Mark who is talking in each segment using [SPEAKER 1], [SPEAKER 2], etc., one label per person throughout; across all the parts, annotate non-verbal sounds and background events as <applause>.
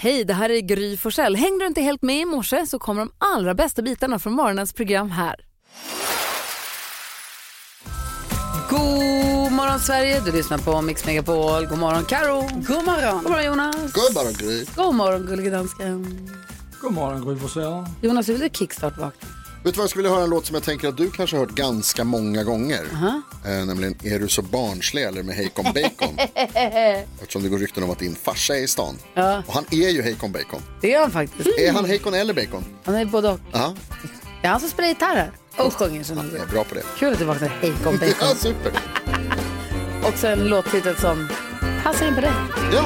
[SPEAKER 1] Hej, det här är Gry Forssell. Hängde du inte helt med i morse så kommer de allra bästa bitarna från morgonens program här. God morgon Sverige, du lyssnar på Mix Megapol. God morgon Karo. God morgon. God morgon Jonas.
[SPEAKER 2] God morgon, Gry.
[SPEAKER 1] God morgon gullige dansken.
[SPEAKER 3] God morgon Gry Forssell.
[SPEAKER 1] Jonas, hur vill du kickstart-vakna?
[SPEAKER 2] Vet du vad jag skulle vilja höra en låt som jag tänker att du kanske har hört ganska många gånger. Eh, nämligen Är du så barnslig eller med
[SPEAKER 1] <laughs>
[SPEAKER 2] Hejkon Bacon. Eftersom det går rykten om att din farsa är i stan.
[SPEAKER 1] Ja.
[SPEAKER 2] Och han är ju Hejkon Bacon.
[SPEAKER 1] Det gör han faktiskt.
[SPEAKER 2] Är han Hejkon eller Bacon?
[SPEAKER 1] Han är både och.
[SPEAKER 2] Ja,
[SPEAKER 1] Det är han som spelar gitarr här och sjunger. som han
[SPEAKER 2] jag
[SPEAKER 1] säger.
[SPEAKER 2] är bra på det.
[SPEAKER 1] Kul att du vaknade hejkon bacon.
[SPEAKER 2] Ja, super.
[SPEAKER 1] Också en låttitel som passar in på dig.
[SPEAKER 2] Ja.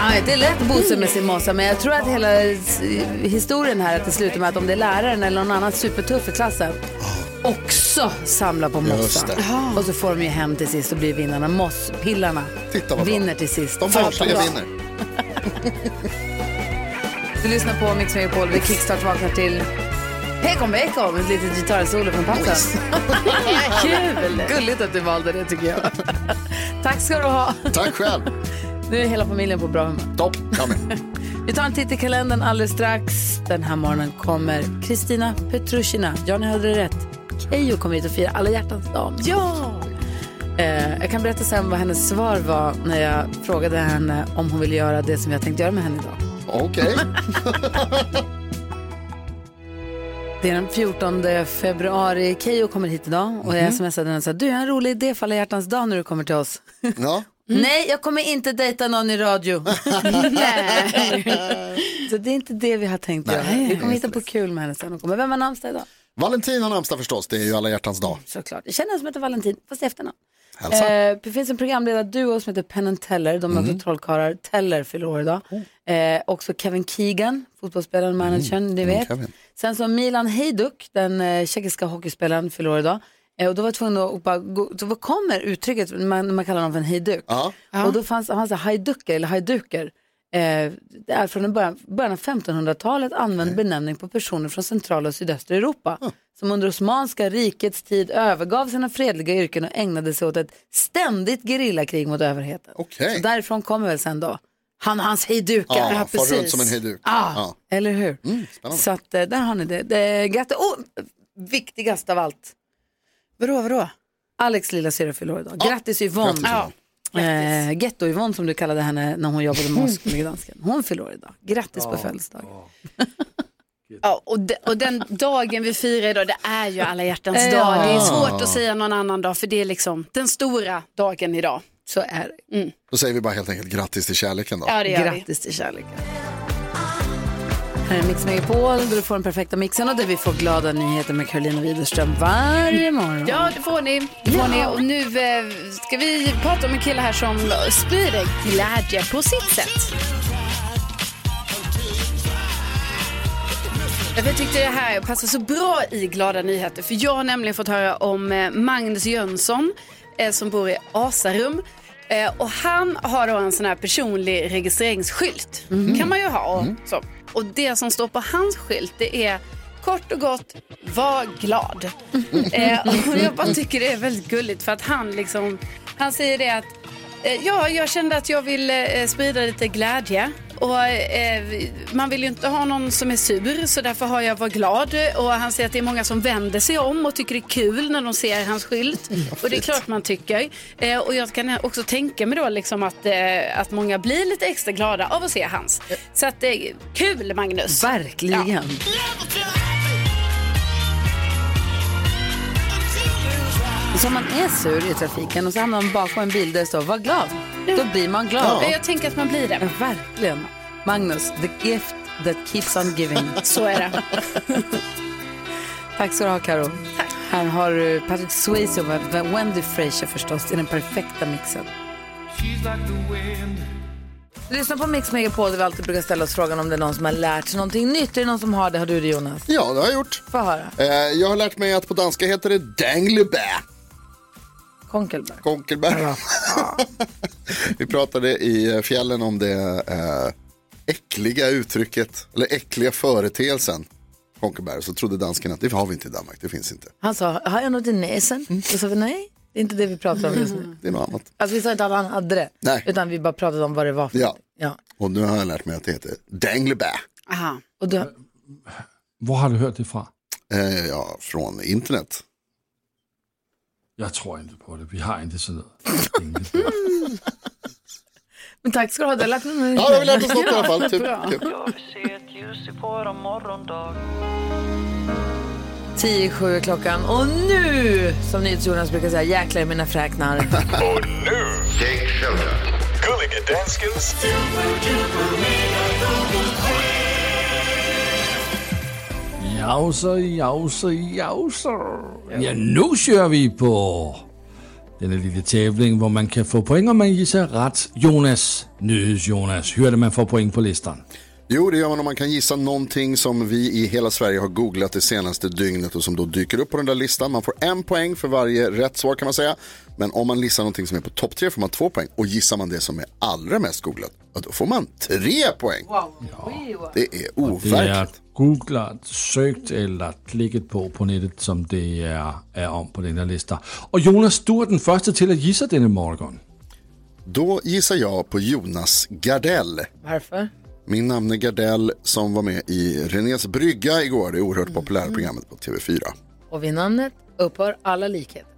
[SPEAKER 1] Nej, det lät Bosse med sin mossa, men jag tror att hela s- historien här att det slutar med att om det är läraren eller någon annan supertuff i klassen också samlar på
[SPEAKER 2] Just
[SPEAKER 1] mossa.
[SPEAKER 2] det.
[SPEAKER 1] Och så får de ju hem till sist och blir vinnarna. Mosspillarna
[SPEAKER 2] Titta vad bra.
[SPEAKER 1] vinner till sist.
[SPEAKER 2] De
[SPEAKER 1] Fan,
[SPEAKER 2] barnsliga
[SPEAKER 1] vad bra.
[SPEAKER 2] vinner.
[SPEAKER 1] Du lyssnar på Mix Megapol. Vi kickstart vaknar till Pekon Bacon med ett litet gitarrsolo från passen. <laughs> Kul! Gulligt att du valde det tycker jag. Tack ska du ha.
[SPEAKER 2] Tack själv.
[SPEAKER 1] Nu är hela familjen på bra humör.
[SPEAKER 2] Topp. Kom med.
[SPEAKER 1] Vi tar en titt i kalendern alldeles strax. Den här morgonen kommer Kristina Petrushina. Ja, ni hörde det rätt. Keyyo kommer hit och firar alla hjärtans dag. Ja! Eh, jag kan berätta sen vad hennes svar var när jag frågade henne om hon ville göra det som jag tänkte göra med henne idag.
[SPEAKER 2] Okej.
[SPEAKER 1] <laughs> Det är den 14 februari. Keyyo kommer hit idag och jag smsade henne och sa du jag har en rolig idé för alla hjärtans dag när du kommer till oss.
[SPEAKER 2] Ja.
[SPEAKER 1] Nej, jag kommer inte dejta någon i radio. <laughs> Så det är inte det vi har tänkt göra. Vi kommer hitta på kul med henne sen. Hon kommer. Vem har namnsdag idag?
[SPEAKER 2] Valentin har namnsdag förstås. Det är ju alla hjärtans dag.
[SPEAKER 1] Såklart. Jag känner en som heter Valentin, fast i efternamn.
[SPEAKER 2] Hälsa. Mm.
[SPEAKER 1] Eh, det finns en programledarduo som heter Penn and Teller. De är också trollkarlar. Teller fyller år idag.
[SPEAKER 2] Oh.
[SPEAKER 1] Eh, också Kevin Keegan, fotbollsspelaren, managern,
[SPEAKER 2] Mm,
[SPEAKER 1] ni vet.
[SPEAKER 2] Kevin.
[SPEAKER 1] Sen så Milan Hejduk, den eh, tjeckiska hockeyspelaren, fyller år idag. Eh, och då var jag tvungen att bara gå, så vad kommer uttrycket, man, man kallar honom för en hejduk.
[SPEAKER 2] Ja.
[SPEAKER 1] Och då fanns han så här hajducker eller hajduker. Eh, det är från en början, början av 1500-talet använd benämning på personer från centrala och sydöstra Europa som under Osmanska rikets tid övergav sina fredliga yrken och ägnade sig åt ett ständigt gerillakrig mot överheten.
[SPEAKER 2] Okej.
[SPEAKER 1] Så därifrån kommer väl sen då han och hans hejdukar.
[SPEAKER 2] Ja, far
[SPEAKER 1] precis.
[SPEAKER 2] runt som en hejduk.
[SPEAKER 1] Ah,
[SPEAKER 2] Ja.
[SPEAKER 1] Eller hur?
[SPEAKER 2] Mm, spännande.
[SPEAKER 1] så att, eh, där har ni det. det gratta, oh, viktigast av allt,
[SPEAKER 4] Vadå, vadå?
[SPEAKER 1] Alex lilla syrra fyller år idag. Grattis Yvonne.
[SPEAKER 2] Grattis, Yvonne.
[SPEAKER 1] Eh, Getto-Yvonne som du kallade henne när hon jobbade med oss Gullige Dansken. Hon fyller år idag. Grattis på födelsedagen.
[SPEAKER 4] Ja, och, de, och den dagen vi firar idag, det är ju alla hjärtans
[SPEAKER 1] Ja.
[SPEAKER 4] dag. Det är svårt att säga någon annan dag, för det är liksom den stora dagen idag. Mm.
[SPEAKER 1] Så är det.
[SPEAKER 2] Då säger vi bara helt enkelt grattis till kärleken då.
[SPEAKER 4] Ja, det gör vi.
[SPEAKER 1] Grattis till kärleken. Här är Mix Megapol där du får den perfekta mixen och där vi får glada nyheter med Karolina Widerström varje morgon.
[SPEAKER 4] Ja, det får ni. Det får ni. Och nu eh, ska vi prata om en kille här som sprider glädje på sitt sätt. Jag tyckte det här passar så bra i glada nyheter. För jag har nämligen fått höra om eh, Magnus Jönsson eh, som bor i Asarum. Eh, Och han har då en sån här personlig registreringsskylt. kan man ju ha. Och, så. och det som står på hans skylt det är kort och gott, var glad. Eh, och jag bara tycker det är väldigt gulligt för att han liksom, han säger det att Eh, Ja, jag kände att jag vill eh, sprida lite glädje. Och, eh, man vill ju inte ha någon som är sur, så därför har jag varit glad. Och han säger att det är många som vänder sig om och tycker det är kul när de ser hans skylt. och det är klart man tycker. Eh, och jag kan också tänka mig då liksom att, eh, att många blir lite extra glada av att se hans. Så att det är kul, Magnus.
[SPEAKER 1] Verkligen. Så om man är sur i trafiken och så hamnar man bakom en bil där det står var glad, då blir man glad.
[SPEAKER 4] Ja. Jag tänker att man blir
[SPEAKER 1] Ja,
[SPEAKER 4] det.
[SPEAKER 1] verkligen. Magnus, the gift that keeps on <laughs> giving.
[SPEAKER 4] Så är det.
[SPEAKER 1] Tack ska du ha, Karo. Här har du Patrick Swayze och Wendy Frazier förstås i den perfekta mixen. Lyssna på Mix Megapol där vi alltid brukar ställa oss frågan om det är någon som har lärt sig någonting nytt. Är det någon som har det? Har du det Jonas?
[SPEAKER 2] Ja, det har jag gjort.
[SPEAKER 1] Få höra.
[SPEAKER 2] Eh, jag har lärt mig att på danska heter det danglebär.
[SPEAKER 1] Konkelberg.
[SPEAKER 2] Konkelberg. Vi pratade i fjällen om det eh, äckliga uttrycket, eller äckliga företeelsen. Konkelberg, så trodde dansken att det har vi inte i Danmark, det finns inte.
[SPEAKER 1] Mm. Han sa, har jag något i näsen? Då sa vi nej. Det är inte det vi pratar om just nu.
[SPEAKER 2] Det är något annat.
[SPEAKER 1] Alltså vi sa inte att han hade det,
[SPEAKER 2] Nej.
[SPEAKER 1] utan vi bara pratade om vad det var för
[SPEAKER 2] Ja.
[SPEAKER 1] någonting. ja.
[SPEAKER 2] Och nu har jag lärt mig att det heter Danglebä.
[SPEAKER 4] Aha.
[SPEAKER 1] Och du,
[SPEAKER 5] Hvor har du hørt det fra?
[SPEAKER 2] Eh, ja, från internet.
[SPEAKER 5] Jeg tror ikke på det. Vi har ikke sådan noget.
[SPEAKER 1] men tack ska du ha, du har lärt mig
[SPEAKER 2] Ja, det har vi lärt oss något i alla fall. Typ. Kul.
[SPEAKER 6] Jag vill se ett ljus i våran morgondag
[SPEAKER 1] 10 7 är klockan och nu, som NyhetsJonas brukar säga, jäklar i mina fräknar.
[SPEAKER 7] Och nu, Take Shelter. Gullige Danskens
[SPEAKER 5] Jauser, jauser, jauser. Ja, nu kører vi på denne lille tævling, hvor man kan få point, om man gissar ret. Jonas, nyheds Jonas, hørte man får point på listan.
[SPEAKER 2] Jo, det gör man om man kan gissa någonting som vi i hela Sverige har googlat det senaste dygnet och som då dyker upp på den där listan. Man får en poäng för varje rätt svar kan man säga. Men om man listar någonting som är på topp tre får man två poäng. Och gissar man det som är allra mest googlat, ja, då får man tre poäng. Det är
[SPEAKER 5] Det er
[SPEAKER 2] overkligt.
[SPEAKER 5] googlet, søgt eller klikket på på nettet, som det er, er om på den her lista. Og Jonas, du er den første til at gisse denne morgen.
[SPEAKER 2] Då gissar jag på Jonas Gardell.
[SPEAKER 1] Varför?
[SPEAKER 2] Min namne Gardell som var med i Renés brygga igår, det oerhört populära programmet på TV4.
[SPEAKER 1] Och vid namnet upphör alla likheter.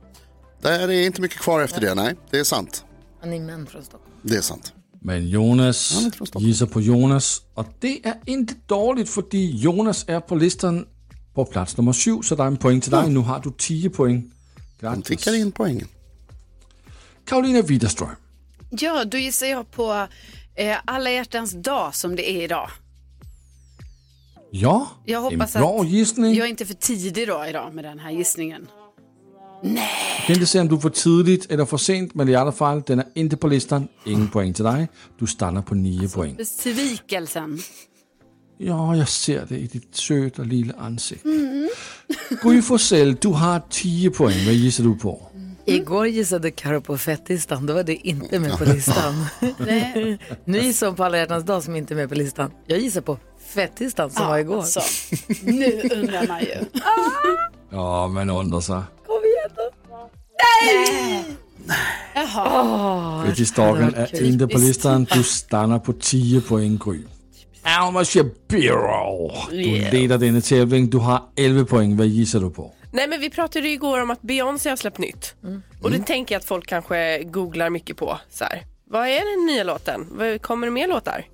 [SPEAKER 2] Där är inte mycket kvar efter det, nej. Det är sant.
[SPEAKER 1] Han är män från Stockholm.
[SPEAKER 2] Det är sant.
[SPEAKER 5] Men Jonas gisser på Jonas, og det er ikke dårligt, fordi Jonas er på listen på plads nummer 7, så der er en point til dig. Nu har du 10 point.
[SPEAKER 2] De tickar in poängen.
[SPEAKER 5] Karolina Widerström.
[SPEAKER 4] Ja, då gissar jag på eh, alla hjärtans dag som det är idag.
[SPEAKER 5] Ja,
[SPEAKER 4] Jag
[SPEAKER 5] en
[SPEAKER 4] hoppas
[SPEAKER 5] bra
[SPEAKER 4] att
[SPEAKER 5] gissning.
[SPEAKER 4] jag är inte för tidig då idag med den här gissningen.
[SPEAKER 5] Jeg kan ikke se, om du er for tidligt eller for sent, men i alle fald, den er ikke på listen. Ingen point til dig. Du stander på 9 point.
[SPEAKER 4] Besvikelsen.
[SPEAKER 5] Ja, jeg ser det i dit søde og lille ansigt. Gry Forssell, du har 10 point. Hvad gisser du på?
[SPEAKER 1] Mm. Igår gissade Karo på fettistan, då var det inte med på <laughs> listan. nu gissar hon på alla hjärtans dag som inte är med på listan. Jag gissar på fettistan som var igår.
[SPEAKER 4] Alltså, nu undrar man
[SPEAKER 8] <laughs>
[SPEAKER 4] ju.
[SPEAKER 5] Ja, man undrer sig.
[SPEAKER 4] Jaha,
[SPEAKER 5] Betty Stokken er ikke på listen. Du stander på 10 point, Gry. Alma Shapiro. Du leder denne tävling. Du har 11 point. Hvad gisser du på?
[SPEAKER 9] Nej men vi pratade ju igår om att Beyoncé har släppt nytt.
[SPEAKER 10] Mm.
[SPEAKER 9] Och det tänker jag att folk kanske googlar mycket på. Så här. Vad är den nya låten? Vad- Kommer det mer låtar?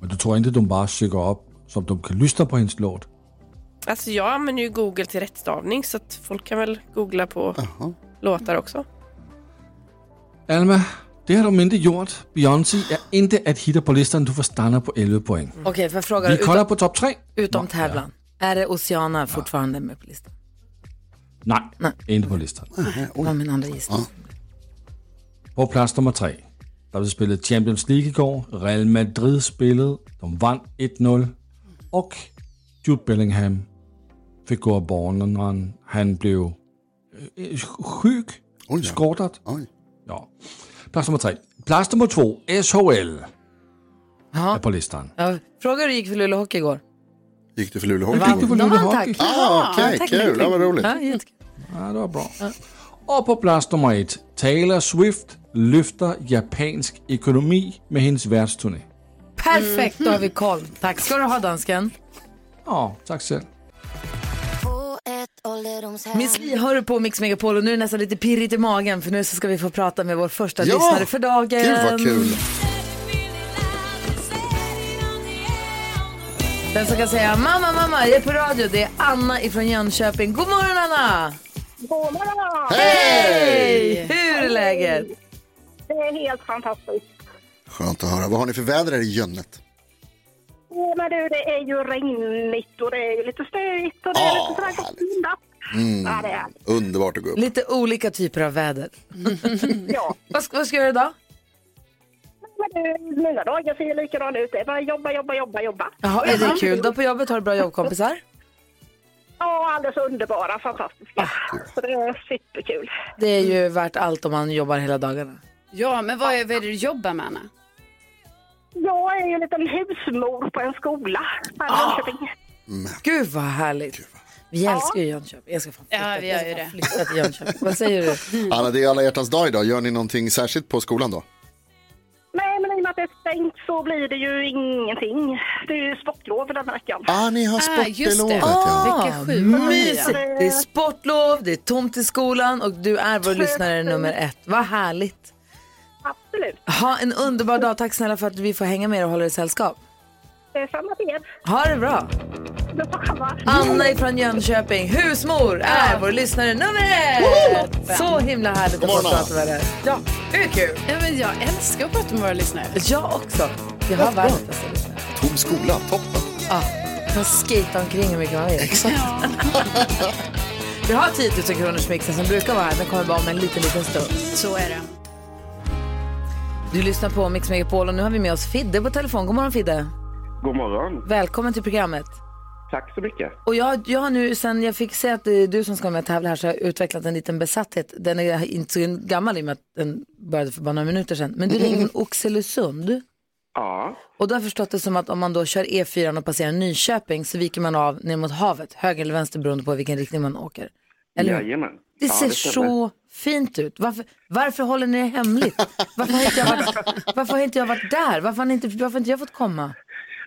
[SPEAKER 5] Men du tror ikke, du bare søger op, som du kan lyssna på hendes låt?
[SPEAKER 9] Alltså jag använder ju Google till rättstavning så att folk kan väl googla på låtar också.
[SPEAKER 5] Alma, det har du mindre gjort. Beyoncé er ikke at hitte på listen. Du får stander på 11 point.
[SPEAKER 1] Okej, får jag fråga,
[SPEAKER 5] Vi
[SPEAKER 1] utom,
[SPEAKER 5] kolder på top 3.
[SPEAKER 1] utom tävlan, är det Oceana fortfarande med på listan?
[SPEAKER 5] Nej, ikke på listen.
[SPEAKER 1] Det var min andra gissning.
[SPEAKER 5] På plads nummer 3. Der blev spillet Champions League i går. Real Madrid spillede. De vandt 1-0. Og Jude Bellingham fik gå af banen. og Han, han blev øh, syg.
[SPEAKER 2] Oj, ja.
[SPEAKER 5] Skortet.
[SPEAKER 2] Oj.
[SPEAKER 5] Ja. Plads nummer 3. Plads nummer 2. SHL. Er på listen.
[SPEAKER 1] Ja, fråga hur det gick för Luleå Hockey igår.
[SPEAKER 2] Gick det för Luleå Hockey?
[SPEAKER 5] Vann.
[SPEAKER 2] igår?
[SPEAKER 1] De
[SPEAKER 5] Luleå
[SPEAKER 1] vann
[SPEAKER 5] Hockey.
[SPEAKER 1] tack.
[SPEAKER 2] Ah, okej,
[SPEAKER 1] tack,
[SPEAKER 2] kul.
[SPEAKER 1] tack,
[SPEAKER 2] Ja, vad
[SPEAKER 1] tack.
[SPEAKER 2] roligt.
[SPEAKER 1] Ja, jättekul.
[SPEAKER 5] Ja, det var bra. Og på plads nummer 1. Taylor Swift løfter japansk økonomi med hendes værtsturné.
[SPEAKER 1] Perfekt, då har vi koll. Tack ska du ha dansken.
[SPEAKER 5] Åh, tak selv.
[SPEAKER 1] Miss Li hör du på Mix Megapol och nu är det nästan lite pirrigt i magen för nu så ska vi få prata med vår första lyssnare för dagen.
[SPEAKER 2] Gud vad kul.
[SPEAKER 1] Den som kan säga mamma, mamma, jag är på radio. Det är Anna ifrån Jönköping. God morgon Anna!
[SPEAKER 8] God morgon!
[SPEAKER 2] Hej!
[SPEAKER 1] Hur är läget?
[SPEAKER 8] Det är helt fantastiskt.
[SPEAKER 2] Skönt att höra. Vad har ni för väder här i Jönnet?
[SPEAKER 8] Nej, Men du, det är ju regnigt och det är ju lite stökigt och det är
[SPEAKER 2] Ja,
[SPEAKER 8] lite sådär
[SPEAKER 2] Ah,
[SPEAKER 8] gott
[SPEAKER 2] härligt. Mm.
[SPEAKER 8] vindat. Ja, det är det.
[SPEAKER 2] Underbart att gå upp.
[SPEAKER 1] Lite olika typer av väder. <laughs>
[SPEAKER 8] ja.
[SPEAKER 1] Vad ska, vad ska du göra idag?
[SPEAKER 8] Men du, mina dagar ser ju likadana ut. Det är bara jobba, jobba, jobba, jobba.
[SPEAKER 1] Jaha, är det kul? Då på jobbet har du bra jobbkompisar?
[SPEAKER 8] Ja, alldeles underbara, fantastiska. Så det är superkul.
[SPEAKER 1] Det är ju värt allt om man jobbar hela dagarna.
[SPEAKER 4] ja men vad är, vad är det du jobbar med Anna?
[SPEAKER 8] Jag är ju en liten husmor på en skola här i Jönköping.
[SPEAKER 1] Gud vad Ah! härligt.
[SPEAKER 11] Vi älskar ju Jönköping. Jag ska fan flytta,
[SPEAKER 4] Ja, vi gör ju
[SPEAKER 11] jag ska fan
[SPEAKER 4] det.
[SPEAKER 11] flytta till
[SPEAKER 4] <laughs>
[SPEAKER 11] Jönköping. Vad säger du?
[SPEAKER 2] Anna, det är alla hjärtans dag idag. Gör ni någonting särskilt på skolan då?
[SPEAKER 12] Nej, men i och med att det är stängt så blir det ju ingenting. Det är ju sportlov för denna veckan.
[SPEAKER 2] Ah, ni har
[SPEAKER 4] Ah, just
[SPEAKER 2] sportlovet.
[SPEAKER 4] det.
[SPEAKER 2] ja.
[SPEAKER 4] Vecka sju, kommer nya.
[SPEAKER 1] mysigt! Det är sportlov, det är tomt i skolan och du är vår lyssnare nummer ett. Vad härligt!
[SPEAKER 12] Absolut.
[SPEAKER 1] Ha en underbar dag. Tack snälla för att vi får hänga med er och hålla er sällskap.
[SPEAKER 12] Det är samma till er.
[SPEAKER 1] Ha det bra!
[SPEAKER 12] Detsamma.
[SPEAKER 1] Anna ifrån Jönköping, husmor, är vår lyssnare nummer ett! Så himla härligt att
[SPEAKER 2] God
[SPEAKER 1] få
[SPEAKER 2] morgon,
[SPEAKER 1] prata med dig. Ja, det är kul.
[SPEAKER 4] Ja, men jag älskar att prata med våra lyssnare.
[SPEAKER 1] Jag också. Jag har världens bästa lyssnare.
[SPEAKER 2] Tom skola, toppen.
[SPEAKER 1] Ja, man skejtar omkring hur mycket man vill. Vi har 10 000 kronors mixen som brukar vara här, den kommer bara om en liten, liten stund.
[SPEAKER 4] Så är det.
[SPEAKER 1] Du lyssnar på Mix Megapol och nu har vi med oss Fidde på telefon. God morgon Fidde!
[SPEAKER 13] God morgon.
[SPEAKER 1] Välkommen till programmet.
[SPEAKER 13] Tack så mycket.
[SPEAKER 1] Och jag, jag har nu, sen jag fick se att det är du som ska vara med och tävla här, så har jag utvecklat en liten besatthet. Den är inte så gammal i och med att den började för bara några minuter sedan. Men du ringer
[SPEAKER 13] <laughs>
[SPEAKER 1] från Oxelösund.
[SPEAKER 13] Ja,
[SPEAKER 1] Och då har jag förstått det som att om man då kör E4 och passerar Nyköping så viker man av ner mot havet, höger eller vänster beroende på vilken riktning man åker. Eller hur?
[SPEAKER 13] jajamän.
[SPEAKER 1] Det
[SPEAKER 13] ja,
[SPEAKER 1] ser
[SPEAKER 13] stämmer.
[SPEAKER 1] så fint ut. Varför, varför håller ni det
[SPEAKER 13] <laughs>
[SPEAKER 1] hemligt? Varför har, inte jag varit, varför har inte jag varit där? Varför har, ni inte, varför har inte jag fått komma?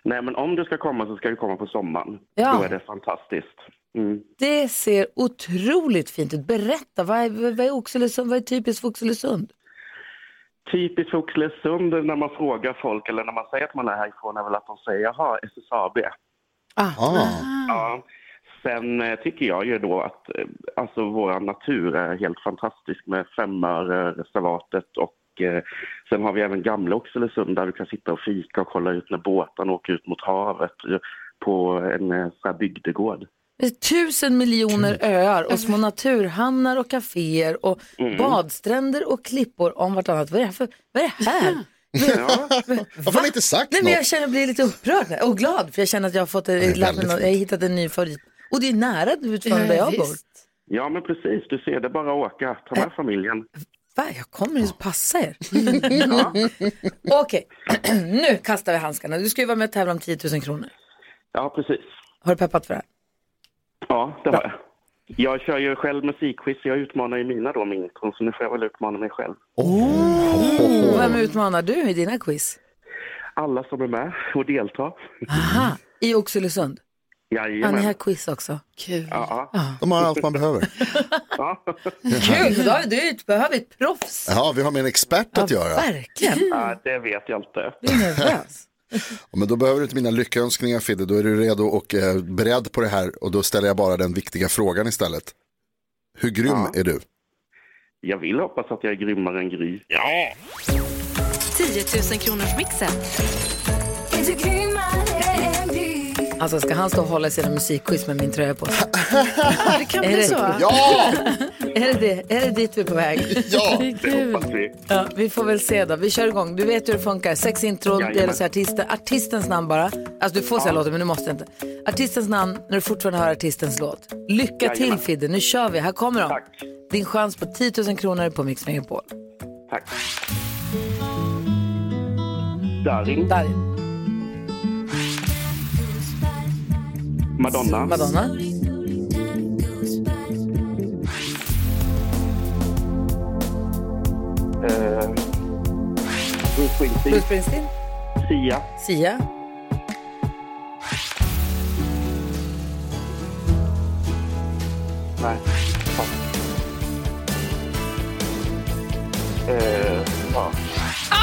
[SPEAKER 13] Nej, men om du ska komma så ska du komma på sommaren.
[SPEAKER 1] Ja.
[SPEAKER 13] Då är det fantastiskt. Mm.
[SPEAKER 1] Det ser otroligt fint ut. Berätta, vad är, vad är, Oxelösund, vad är typiskt för Oxelösund?
[SPEAKER 13] Typiskt för Oxelösund när man frågar folk eller när man säger att man är härifrån är väl att de säger jaha, SSAB.
[SPEAKER 2] Ah.
[SPEAKER 13] Ja. Sen eh, tycker jag ju då att eh, alltså, vår natur är helt fantastisk med Femörereservatet och eh, sen har vi även gamla Oxelösund där du kan sitta och fika och kolla ut när båtarna åker ut mot havet eh, på en eh, så här bygdegård.
[SPEAKER 1] Det är tusen miljoner öar och små naturhamnar och kaféer och
[SPEAKER 2] Mm.
[SPEAKER 1] badstränder och klippor om vartannat. Vad är det här? För, vad är det här?
[SPEAKER 2] Varför <laughs> har ni inte sagt
[SPEAKER 1] Nej, men
[SPEAKER 2] något?
[SPEAKER 1] jag känner blir lite upprörd nu och glad för jag känner att jag har fått
[SPEAKER 2] är
[SPEAKER 1] eh,
[SPEAKER 2] väldigt
[SPEAKER 1] lappen och jag har hittat en ny favorit. Och det är nära utifrån där jag bor.
[SPEAKER 13] Ja, men precis. Du ser, det är bara att åka. Ta med familjen.
[SPEAKER 1] Va, jag kommer att passa
[SPEAKER 2] <laughs>
[SPEAKER 1] er. Okej, <clears throat> nu kastar vi handskarna. Du ska ju vara med och tävla om 10 000 kronor.
[SPEAKER 13] Ja, precis.
[SPEAKER 1] Har du peppat för det här?
[SPEAKER 13] Ja, det har jag. Jag kör ju själv musikquiz, så jag utmanar ju mina då med intron, så nu får jag väl utmana mig själv. Oh.
[SPEAKER 1] Och Oh. Vem utmanar du i dina quiz?
[SPEAKER 13] Alla som är med och deltar.
[SPEAKER 1] Aha, i Oxelösund. Han är
[SPEAKER 13] Jajamän.
[SPEAKER 1] här quiz också.
[SPEAKER 4] Kul.
[SPEAKER 13] Ja,
[SPEAKER 2] De har allt man behöver.
[SPEAKER 13] ja.
[SPEAKER 1] Kul, för då har du ett- behöver ett proffs.
[SPEAKER 2] Ja, vi har med en expert att göra.
[SPEAKER 1] Verkligen.
[SPEAKER 13] ja, det vet jag inte.
[SPEAKER 1] Jag är nervös.
[SPEAKER 2] Ja, Men då behöver du inte mina lyckönskningar Fidde, då är du redo och eh, beredd på det här och då ställer jag bara den viktiga frågan istället. Hur grym är du?
[SPEAKER 13] Jag vill hoppas att jag är grymmare än Gry. Ja!
[SPEAKER 14] 10 000 kronors mixen.
[SPEAKER 1] Alltså ska han stå och hålla i sina musikquiz med min tröja på sig?
[SPEAKER 4] Det kan
[SPEAKER 1] Är det-
[SPEAKER 4] bli så.
[SPEAKER 2] Ja!
[SPEAKER 1] <laughs> Är det, det? är det dit vi är på
[SPEAKER 13] <laughs>
[SPEAKER 1] väg?
[SPEAKER 2] ja!
[SPEAKER 13] Hoppas vi.
[SPEAKER 1] Ja, vi får väl se då. Vi kör igång. Du vet hur det funkar. Sex intron,
[SPEAKER 13] Jajamän.
[SPEAKER 1] delas i artister. Artistens namn bara. Alltså du får säga låten men du måste inte. Artistens namn när du fortfarande hör artistens låt. Lycka till
[SPEAKER 13] Jajamän.
[SPEAKER 1] Fidde, nu kör vi. Här kommer de.
[SPEAKER 13] Tack.
[SPEAKER 1] Din chans på 10 000 kronor på Mix Megapol.
[SPEAKER 13] Tack. Darin,
[SPEAKER 1] Där,
[SPEAKER 13] Madonna,
[SPEAKER 1] Madonna.
[SPEAKER 13] eh, Bruce Springsteen,
[SPEAKER 1] Bruce Springsteen.
[SPEAKER 13] Sia,
[SPEAKER 1] Sia.
[SPEAKER 13] Nej. Fan. Eh, ja.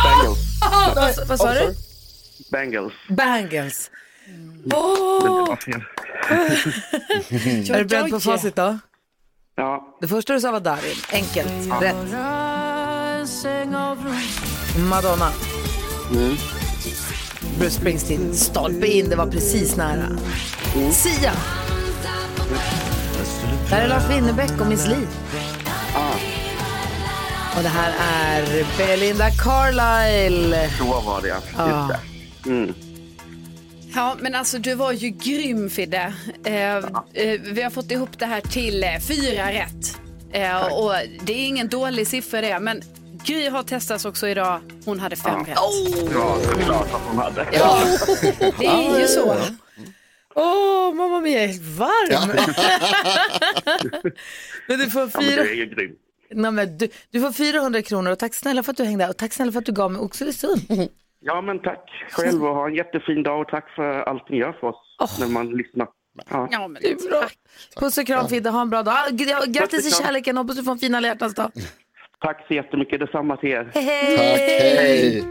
[SPEAKER 13] Bangles.
[SPEAKER 1] Ah, vad, vad sa du?
[SPEAKER 13] Bangles.
[SPEAKER 1] Bangles.
[SPEAKER 13] Ja, fel.
[SPEAKER 1] Är du beredd på facit då?
[SPEAKER 13] Ja,
[SPEAKER 1] Det första du sa var Darin. Enkelt. Rätt. Madonna.
[SPEAKER 13] Mm.
[SPEAKER 1] Bruce Springsteen. Stolpe in, det var precis nära.
[SPEAKER 13] Mm.
[SPEAKER 1] Sia. Det här är Lars Winnerbäck och Miss Li. Och det här är Belinda Carlisle.
[SPEAKER 13] så var det. Just det. Mm.
[SPEAKER 4] Ja, men alltså du var ju grym Fidde. Eh, eh, vi har fått ihop det här till eh, fyra rätt. Eh, och det är ingen dålig siffra det, men Gry har testats också idag. Hon hade fem rätt.
[SPEAKER 13] Ja, såklart att hon hade.
[SPEAKER 4] Det är ju så.
[SPEAKER 1] Åh, mamma mia, jag är helt varm. <laughs> men du får
[SPEAKER 13] Ja, men
[SPEAKER 1] fira...
[SPEAKER 13] det är ju grymt.
[SPEAKER 1] Nej, men du, du får 400 kronor och tack snälla för att du hängde här och tack snälla för att du gav mig Oxelösund.
[SPEAKER 13] Ja, men tack själv och ha en jättefin dag och tack för allt ni gör för oss när man lyssnar. Ja.
[SPEAKER 4] men
[SPEAKER 1] det är bra. Puss och kram Fidde, ha en bra dag. Ah, g- ja, Grattis i kärleken, hoppas du får en fin alla hjärtans dag.
[SPEAKER 13] Tack så jättemycket, detsamma till er.
[SPEAKER 1] Hej, hej. Tack, hej.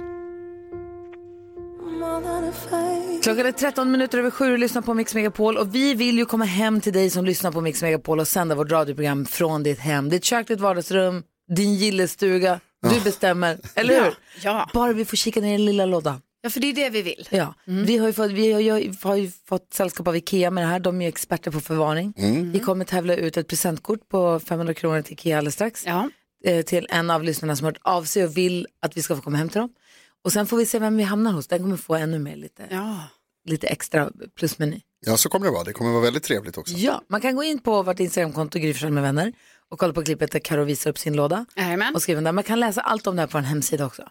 [SPEAKER 1] Klockan är 13 minuter över sju och lyssnar på Mix Megapol och vi vill ju komma hem till dig som lyssnar på Mix Megapol och sända vårt radioprogram från ditt hem, ditt kök, ditt vardagsrum, din gillestuga. Du bestämmer, eller hur?
[SPEAKER 4] Ja.
[SPEAKER 1] Bara vi får kika ner i den lilla lådan.
[SPEAKER 4] Ja, för det är det vi vill.
[SPEAKER 1] Ja, vi, har ju fått, vi har, ju, har ju fått sällskap av Ikea med det här. De är ju experter på förvaring.
[SPEAKER 4] Mm.
[SPEAKER 1] Vi kommer tävla ut ett presentkort på 500 kronor till Ikea alldeles strax. Eh, till en av lyssnarna som har hört av sig och vill att vi ska få komma hem till dem. Och sen får vi se vem vi hamnar hos. Den kommer få ännu mer lite, lite extra plusmeny.
[SPEAKER 2] Ja, så kommer det vara. Det kommer vara väldigt trevligt också.
[SPEAKER 1] Ja, man kan gå in på vårt Instagramkonto Gry Forssell med vänner och kolla på klippet där Karo visar upp sin låda. Och skriver där. Man kan läsa allt om det här på en hemsida också.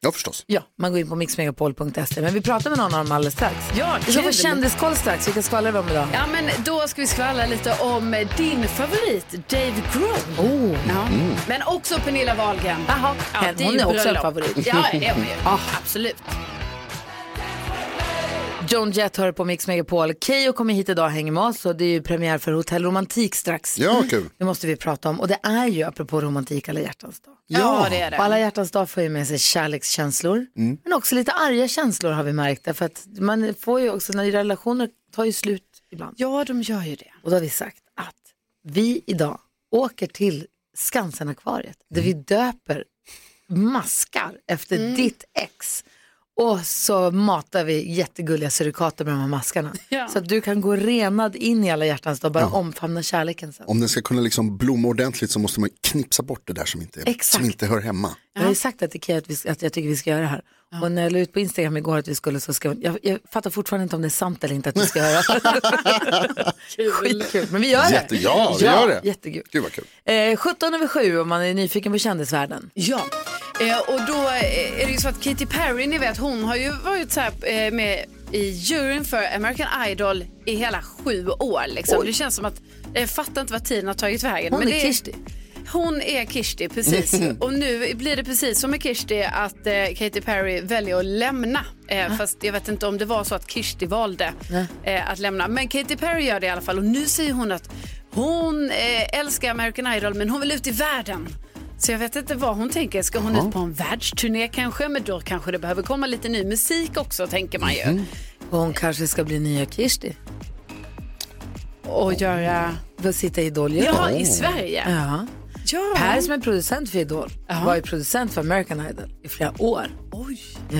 [SPEAKER 2] Ja, förstås.
[SPEAKER 1] Ja, man går in på mixmegapol.se. Men vi pratar med någon av dem alldeles strax.
[SPEAKER 4] Ja,
[SPEAKER 1] vi ska
[SPEAKER 4] kul.
[SPEAKER 1] få kändiskoll strax. Vilka skvallrar vi om idag?
[SPEAKER 4] Ja, men då ska vi skvallra lite om eh, din favorit, Dave Grohl.
[SPEAKER 1] Oh.
[SPEAKER 4] Ja.
[SPEAKER 1] Mm.
[SPEAKER 4] Men också Pernilla Wahlgren.
[SPEAKER 1] Jaha,
[SPEAKER 4] ja,
[SPEAKER 1] hon
[SPEAKER 4] det ju
[SPEAKER 1] är också en
[SPEAKER 4] bröllop.
[SPEAKER 1] favorit.
[SPEAKER 4] Ja, det är hon ju.
[SPEAKER 1] Ah.
[SPEAKER 4] Absolut.
[SPEAKER 1] John Jett hör på Mix Megapol. Keyyo kommer hit idag och hänger med oss och det är ju premiär för Hotell Romantik strax.
[SPEAKER 2] Ja, kul.
[SPEAKER 1] Det måste vi prata om och det är ju apropå romantik alla hjärtans dag.
[SPEAKER 2] Ja. Ja, det är det.
[SPEAKER 1] Och alla hjärtans dag får ju med sig kärlekskänslor
[SPEAKER 4] Mm.
[SPEAKER 1] men också lite arga känslor har vi märkt därför att man får ju också när relationer tar ju slut ibland.
[SPEAKER 4] Ja, de gör ju det.
[SPEAKER 1] Och då har vi sagt att vi idag åker till Skansenakvariet där vi
[SPEAKER 4] Mm.
[SPEAKER 1] döper maskar efter ditt ex. Och så matar vi jättegulliga surikater med de här maskarna.
[SPEAKER 4] Ja.
[SPEAKER 1] Så att du kan gå renad in i alla hjärtans dag och bara omfamna kärleken sen.
[SPEAKER 2] Om den ska kunna liksom blomma ordentligt så måste man knipsa bort det där som inte,
[SPEAKER 1] Exakt.
[SPEAKER 2] som inte hör hemma.
[SPEAKER 1] Jag har ju sagt att, Ikea att, vi, att jag tycker vi ska göra det här. Och när jag la ut på Instagram igår att vi skulle så ska jag, jag fattar fortfarande inte om det är sant eller inte att vi
[SPEAKER 4] <laughs>
[SPEAKER 1] ska göra det. Skitkul, men vi gör det.
[SPEAKER 2] Jätte- ja, vi gör det.
[SPEAKER 1] Jättekul.
[SPEAKER 2] Gud vad kul.
[SPEAKER 1] Eh, 17 över 7 om man är nyfiken på kändisvärlden.
[SPEAKER 4] Ja, eh, och då eh, är det ju så att Katy Perry, ni vet, hon har ju varit så här, eh, med i juryn för American Idol i hela sju år. Liksom.
[SPEAKER 1] Oj.
[SPEAKER 4] Det känns som att, jag fattar inte vad tiden har tagit vägen.
[SPEAKER 1] Hon är
[SPEAKER 4] det
[SPEAKER 1] Kirsti.
[SPEAKER 4] Hon är Kirsti, precis.
[SPEAKER 1] <laughs>
[SPEAKER 4] och nu blir det precis som med Kirsti att eh, Katy Perry väljer att lämna. Eh, Fast jag vet inte om det var så att Kirsti valde eh, att lämna. Men Katy Perry gör det i alla fall och nu säger hon att hon eh, älskar American Idol men hon vill ut i världen. Så jag vet inte vad hon tänker. Ska hon ut på en världsturné kanske? Men då kanske det behöver komma lite ny musik också tänker man ju.
[SPEAKER 1] Mm. Och hon kanske ska bli nya Kirsti.
[SPEAKER 4] Och göra...
[SPEAKER 1] Få sitta i Idol.
[SPEAKER 4] Ja, i Sverige.
[SPEAKER 1] Ja.
[SPEAKER 4] Ja.
[SPEAKER 1] Per som är producent för Idol var ju producent för American Idol i flera år.
[SPEAKER 4] Oj.
[SPEAKER 1] Ja,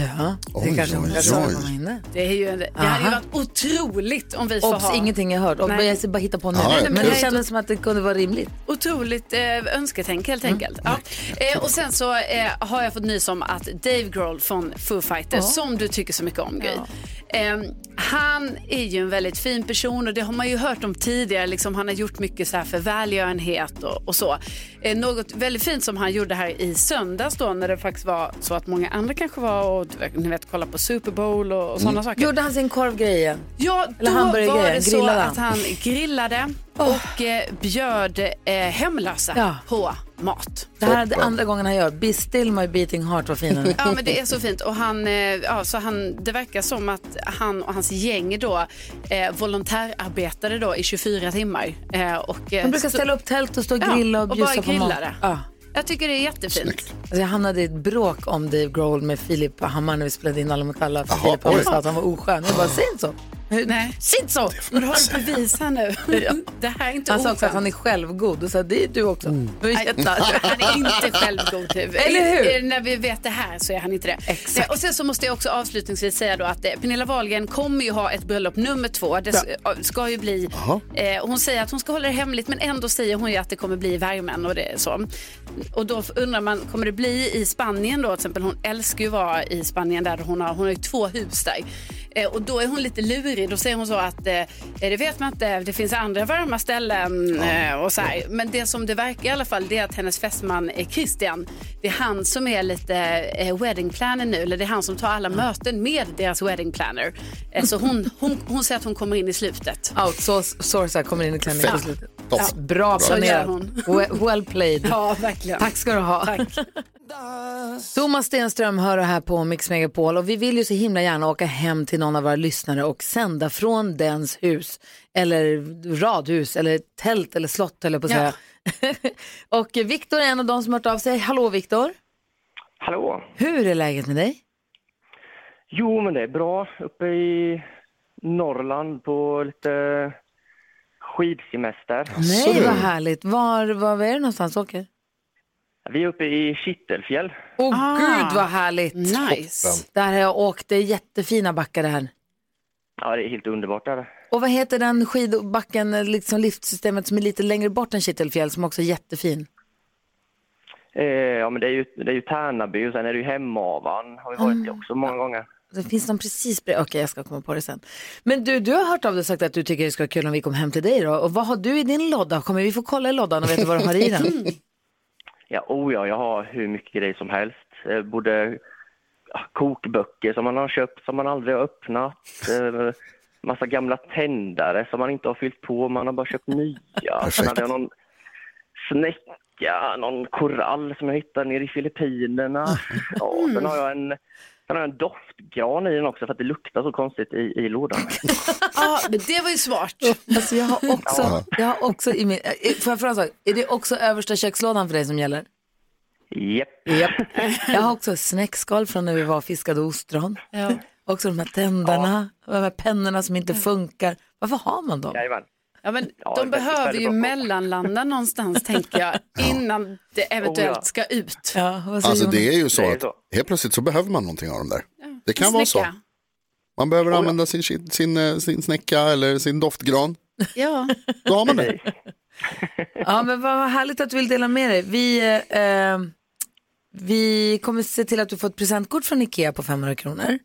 [SPEAKER 1] det
[SPEAKER 4] Oj,
[SPEAKER 1] kanske hon
[SPEAKER 4] oj,
[SPEAKER 1] kan säga
[SPEAKER 4] oj.
[SPEAKER 1] när man är inne.
[SPEAKER 4] Det, är ju en, det hade ju varit otroligt om vi får
[SPEAKER 1] Obs,
[SPEAKER 4] ha...
[SPEAKER 1] ingenting jag hört. Och
[SPEAKER 4] Nej.
[SPEAKER 1] jag ska bara hitta på nu.
[SPEAKER 4] Ja, ja,
[SPEAKER 1] men
[SPEAKER 4] kul.
[SPEAKER 1] det kändes som att det kunde vara rimligt.
[SPEAKER 4] Otroligt eh, önsketänk helt enkelt. Ja. Eh, och sen så eh, har jag fått nys om att Dave Grohl från Foo Fighters,
[SPEAKER 1] Ja.
[SPEAKER 4] som du tycker så mycket om Gry, eh, han är ju en väldigt fin person och det har man ju hört om tidigare. Liksom, han har gjort mycket så här för välgörenhet och, och så. Eh, något väldigt fint som han gjorde här i söndags då när det faktiskt var så att många andra kanske var och du vet- ni vet kolla på Super Bowl och, och sådana saker.
[SPEAKER 1] Mm. Gjorde han sin korvgrej igen?
[SPEAKER 4] Ja,
[SPEAKER 1] Eller
[SPEAKER 4] då
[SPEAKER 1] hamburgergrejen,
[SPEAKER 4] var det så
[SPEAKER 1] grillade han?
[SPEAKER 4] att han grillade och eh, bjöd eh, hemlösa
[SPEAKER 1] Ja.
[SPEAKER 4] på Ah, mat.
[SPEAKER 1] Det här är det andra gången han gör. Be still my beating heart, vad fin han
[SPEAKER 4] <laughs> Ja men det är så fint och han, eh, ja, så han, det verkar som att han och hans gäng då eh, volontärarbetade då i 24 timmar. Eh, och, eh,
[SPEAKER 1] De brukar
[SPEAKER 4] så-
[SPEAKER 1] ställa upp tält och stå och
[SPEAKER 4] Ja,
[SPEAKER 1] grilla och
[SPEAKER 4] och
[SPEAKER 1] bjussa
[SPEAKER 4] bara
[SPEAKER 1] på mat.
[SPEAKER 4] grillade.
[SPEAKER 1] Ja.
[SPEAKER 4] Jag tycker det är jättefint.
[SPEAKER 1] Alltså jag hamnade i ett bråk om Dave Grohl med Filip Hammar när vi spelade in Alla mot alla. För
[SPEAKER 4] Jaha,
[SPEAKER 1] Filip Hammar
[SPEAKER 4] oj.
[SPEAKER 1] sa att han var oskön. Jag bara, säg inte så.
[SPEAKER 4] Nej.
[SPEAKER 1] Sitt så!
[SPEAKER 4] Men du har du bevis här nu. Det här är inte
[SPEAKER 1] Han sa också
[SPEAKER 4] oskönt.
[SPEAKER 1] att han är självgod och sa det är du också. Jag är
[SPEAKER 4] Nej,
[SPEAKER 1] jättearg.
[SPEAKER 4] <laughs> Han är inte självgod. Typ.
[SPEAKER 1] Eller hur?
[SPEAKER 4] Eh, När vi vet det här så är han inte det. Exakt. Och sen så måste jag också avslutningsvis säga då att eh, Pernilla Wahlgren kommer ju ha ett bröllop nummer två. Det s- eh, ska ju bli... Eh, hon säger att hon ska hålla det hemligt men ändå säger hon ju att det kommer bli i värmen och det är så. Och då undrar man, kommer det bli i Spanien då? Till exempel hon älskar ju att vara i Spanien där hon har, hon har ju två hus där. Eh, och då är hon lite lurig. Då säger hon så att eh, det vet man inte, det finns andra varma ställen eh, och så här. Men det som det verkar i alla fall det är att hennes fästman eh, Christian, det är han som är lite eh, wedding planner nu. Eller det är han som tar alla möten med deras wedding planner. Eh, så hon, hon, hon säger att hon kommer in i
[SPEAKER 1] Ah,
[SPEAKER 4] slutet.
[SPEAKER 1] Outsourcar kommer in i klänningen på
[SPEAKER 4] Perfekt.
[SPEAKER 1] slutet.
[SPEAKER 4] Toppen.
[SPEAKER 1] Ja, Bra
[SPEAKER 4] Så gör
[SPEAKER 1] planerat.
[SPEAKER 4] hon.
[SPEAKER 1] We- Well played.
[SPEAKER 4] Ja, verkligen.
[SPEAKER 1] Tack ska du ha. Thomas Stenström hör här på Mix Megapol och vi vill ju så himla gärna åka hem till någon av våra lyssnare och sända från dens hus eller radhus eller tält eller slott eller på att
[SPEAKER 15] Ja.
[SPEAKER 1] säga. och Viktor är en av de som har hört av sig. Hallå Viktor,
[SPEAKER 15] Hallå!
[SPEAKER 1] hur är läget med dig?
[SPEAKER 15] Jo, men det är bra. Uppe i Norrland på lite skidsemester.
[SPEAKER 1] Nej, vad härligt. Var, var är du någonstans och åker?
[SPEAKER 15] Vi är uppe i Kittelfjäll.
[SPEAKER 1] Åh gud vad härligt.
[SPEAKER 15] Ah. Nice. Toppen.
[SPEAKER 1] Där har jag åkt, det är jättefina backar det här.
[SPEAKER 15] Ja, det är helt underbart där.
[SPEAKER 1] Och vad heter den skidbacken, liksom liftsystemet som är lite längre bort än Kittelfjäll som också är jättefin?
[SPEAKER 15] Eh, ja, men det är ju, det är ju Tärnaby och sen är det ju Hemavan. Har vi varit i också många gånger.
[SPEAKER 1] Det finns någon precis bredvid, okej jag ska komma på det sen. Men du, du har hört av dig och sagt att du tycker det skulle vara kul om vi kom hem till dig då. Och vad har du i din låda? Kommer vi få kolla i lådan och veta vad du har i den?
[SPEAKER 15] Ja, oh ja, jag har hur mycket grejer som helst. Eh, både ja, kokböcker som man har köpt som man aldrig har öppnat. Eh, massa gamla tändare som man inte har fyllt på, man har bara köpt nya. Sen hade jag någon snäcka, någon korall som jag hittade nere i Filippinerna. Ja, sen har jag en, sen har jag en doftgran i den också för att det luktar så konstigt i, i lådan.
[SPEAKER 4] <laughs> Ja, men det var ju smart.
[SPEAKER 1] <laughs> Alltså jag har också, jag har också i min, eh, får jag fråga en sak? Är det också översta kökslådan för dig
[SPEAKER 4] <laughs>
[SPEAKER 1] som gäller?
[SPEAKER 15] Japp.
[SPEAKER 1] Japp. Jag har också snäckskal från när vi var och fiskade ostron.
[SPEAKER 4] Ja.
[SPEAKER 1] Också de här tänderna, och de här pennorna som inte funkar. Varför har man dem?
[SPEAKER 4] Ja, men
[SPEAKER 1] Ja,
[SPEAKER 4] de
[SPEAKER 1] väldigt,
[SPEAKER 4] behöver
[SPEAKER 1] väldigt
[SPEAKER 4] ju
[SPEAKER 1] bra koll.
[SPEAKER 4] mellanlanda någonstans tänker
[SPEAKER 2] <laughs>
[SPEAKER 4] jag innan det
[SPEAKER 1] Oh, ja.
[SPEAKER 4] eventuellt ska ut.
[SPEAKER 2] Alltså det är ju så att helt plötsligt så behöver man någonting av dem där. Det kan vara så.
[SPEAKER 4] Snäcka.
[SPEAKER 2] Man behöver använda sin, sin, sin, eh, sin snäcka eller sin doftgran.
[SPEAKER 1] <laughs>
[SPEAKER 4] Ja.
[SPEAKER 2] Då har man det.
[SPEAKER 1] Ja, men vad vad härligt att du vill dela med dig. Vi, eh, eh, vi kommer se till att du får ett presentkort från Ikea på 500 kronor.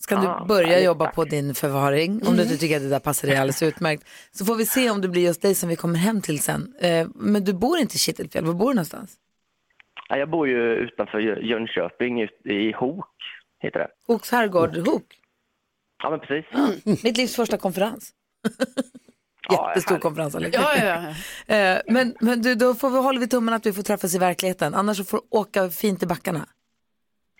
[SPEAKER 1] Ska
[SPEAKER 15] Ah,
[SPEAKER 1] du börja
[SPEAKER 15] härligt,
[SPEAKER 1] jobba på din förvaring, om du inte tycker att det där passar dig alldeles utmärkt. Så får vi se om det blir just dig som vi kommer hem till sen. Eh, men du bor inte i Kittelfjäll, var bor du någonstans?
[SPEAKER 15] Ja, jag bor ju utanför Jö- Jönköping, ut- i Hok heter det.
[SPEAKER 1] Oks herrgård, Hok.
[SPEAKER 15] Ja, men precis.
[SPEAKER 1] Mitt livs första konferens. Jättestor konferensanläggning.
[SPEAKER 15] Ja,
[SPEAKER 4] ja,
[SPEAKER 1] Eh, men, men du, då får vi, håller vi tummen att vi får träffas i verkligheten. Annars så får du åka fint i backarna.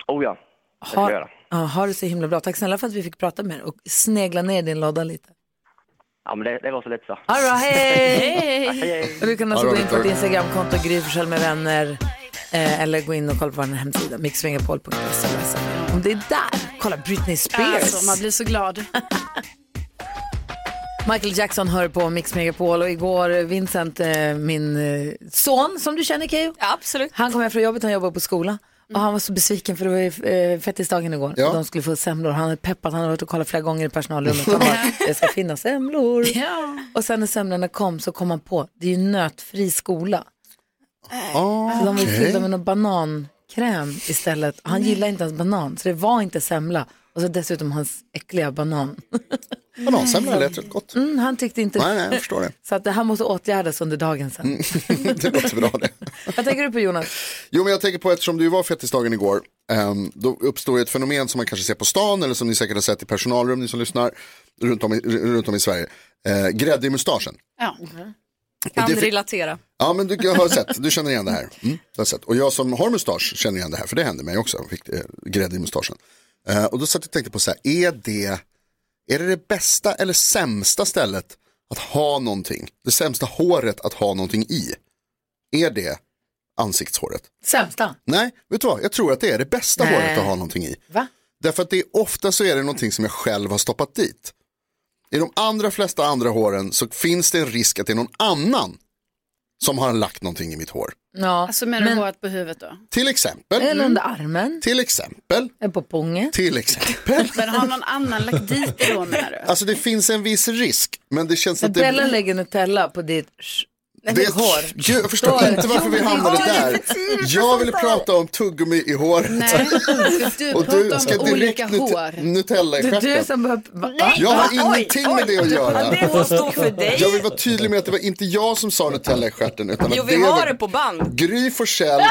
[SPEAKER 15] Oh ja, det ska jag
[SPEAKER 1] Ha,
[SPEAKER 15] göra.
[SPEAKER 1] ja, ha det så himla bra. Tack snälla för att vi fick prata med er och snegla ner din låda lite.
[SPEAKER 15] Ja, men det, det var så lätt så.
[SPEAKER 1] All right, hej!
[SPEAKER 15] Hej!
[SPEAKER 1] Och du kan alltså
[SPEAKER 15] All
[SPEAKER 1] gå in
[SPEAKER 15] right,
[SPEAKER 1] på ditt
[SPEAKER 15] tack.
[SPEAKER 1] Instagramkonto, Gry Forssell med vänner. Eh, eller gå in och kolla på vår hemsida, mixmegapol.se. Om det är där, kolla Britney Spears.
[SPEAKER 4] Alltså, man blir så glad.
[SPEAKER 1] Michael Jackson hör på Mix Megapol och igår Vincent, eh, min eh, son som du känner Keyyo.
[SPEAKER 16] Absolut.
[SPEAKER 1] Han kom hem från jobbet, han jobbar på skola. Och han var så besviken för det var ju eh, fettisdagen igår.
[SPEAKER 16] Ja.
[SPEAKER 1] Och de skulle få semlor. Han hade peppat, han hade varit och kollat flera gånger i
[SPEAKER 2] <laughs>
[SPEAKER 1] personalrummet. Han bara, det ska finnas semlor. Och sen när semlorna kom så kom han på, det är ju nötfri skola. Så Alltså, de var ju
[SPEAKER 16] okej.
[SPEAKER 1] fyllda med någon banankräm istället. Han
[SPEAKER 2] Mm.
[SPEAKER 1] gillar inte ens banan, så det var inte semla. Och så dessutom hans äckliga banan.
[SPEAKER 2] Banansemla lät rätt gott.
[SPEAKER 1] Mm, han tyckte inte
[SPEAKER 2] Nej, nej, jag förstår det. Mm.
[SPEAKER 1] Så att det här måste åtgärdas under dagen sen.
[SPEAKER 2] <laughs> det låter bra det.
[SPEAKER 1] Vad tänker du på Jonas?
[SPEAKER 2] Jo, men jag tänker på eftersom du var fettisdagen igår, ehm, då uppstår ju ett fenomen som man kanske ser på stan eller som ni säkert har sett i personalrum, ni som lyssnar, runt om i, runt om i Sverige. Eh, grädde i mustaschen.
[SPEAKER 16] Ja.
[SPEAKER 2] Mm-hmm. Och
[SPEAKER 16] Kan
[SPEAKER 2] det fick-
[SPEAKER 16] relatera.
[SPEAKER 2] Ja, men du jag har sett, du känner igen det här. Mm, jag har sett. Och jag som har mustasch känner igen det här, för det hände mig också. Jag fick eh, grädde i mustaschen. Eh, och då satt jag och tänkte på så här, är det, är det det bästa eller sämsta stället att ha någonting? Det sämsta håret att ha någonting i? Är det ansiktshåret?
[SPEAKER 1] Sämsta.
[SPEAKER 2] Nej, vet du vad? Jag tror att det är det bästa
[SPEAKER 1] Nej.
[SPEAKER 2] håret att ha någonting i.
[SPEAKER 1] Va?
[SPEAKER 2] Därför att det är, ofta så är det någonting som jag själv har stoppat dit. I de andra flesta andra håren så finns det en risk att det är någon annan som har lagt någonting i mitt hår.
[SPEAKER 1] Ja,
[SPEAKER 4] alltså menar du håret på huvudet då?
[SPEAKER 2] Till exempel. Mm.
[SPEAKER 4] Eller under
[SPEAKER 1] armen.
[SPEAKER 2] Till exempel.
[SPEAKER 1] På pungen.
[SPEAKER 2] Till exempel.
[SPEAKER 4] Men har någon annan <laughs> lagt dit det då menar du?
[SPEAKER 2] Alltså det finns en viss risk, men det känns
[SPEAKER 1] När
[SPEAKER 2] att det...
[SPEAKER 1] Bella lägger Nutella på ditt sh-
[SPEAKER 2] Det, Gud, jag förstår
[SPEAKER 1] Hår.
[SPEAKER 2] inte varför vi
[SPEAKER 1] Jo, men
[SPEAKER 2] hamnade
[SPEAKER 1] det är
[SPEAKER 2] där.
[SPEAKER 1] för tidigt för
[SPEAKER 2] Jag ville
[SPEAKER 1] sånt
[SPEAKER 2] prata om tuggummi i håret.
[SPEAKER 1] Nej,
[SPEAKER 17] du
[SPEAKER 2] <laughs> och
[SPEAKER 17] pratar
[SPEAKER 2] du
[SPEAKER 17] om
[SPEAKER 2] ska direkt
[SPEAKER 17] olika hår.
[SPEAKER 2] nut- Nutella i
[SPEAKER 17] Det är du
[SPEAKER 2] stjärten.
[SPEAKER 17] som
[SPEAKER 2] Nej, Jag har ingenting med det att göra.
[SPEAKER 10] Det får stå för dig.
[SPEAKER 2] Jag vill vara tydlig med att det var inte jag som sa Nutella i stjärten. Utan
[SPEAKER 10] Jo,
[SPEAKER 2] att
[SPEAKER 10] vi
[SPEAKER 2] det
[SPEAKER 10] har
[SPEAKER 2] var
[SPEAKER 10] det på band.
[SPEAKER 2] Gry Forssell.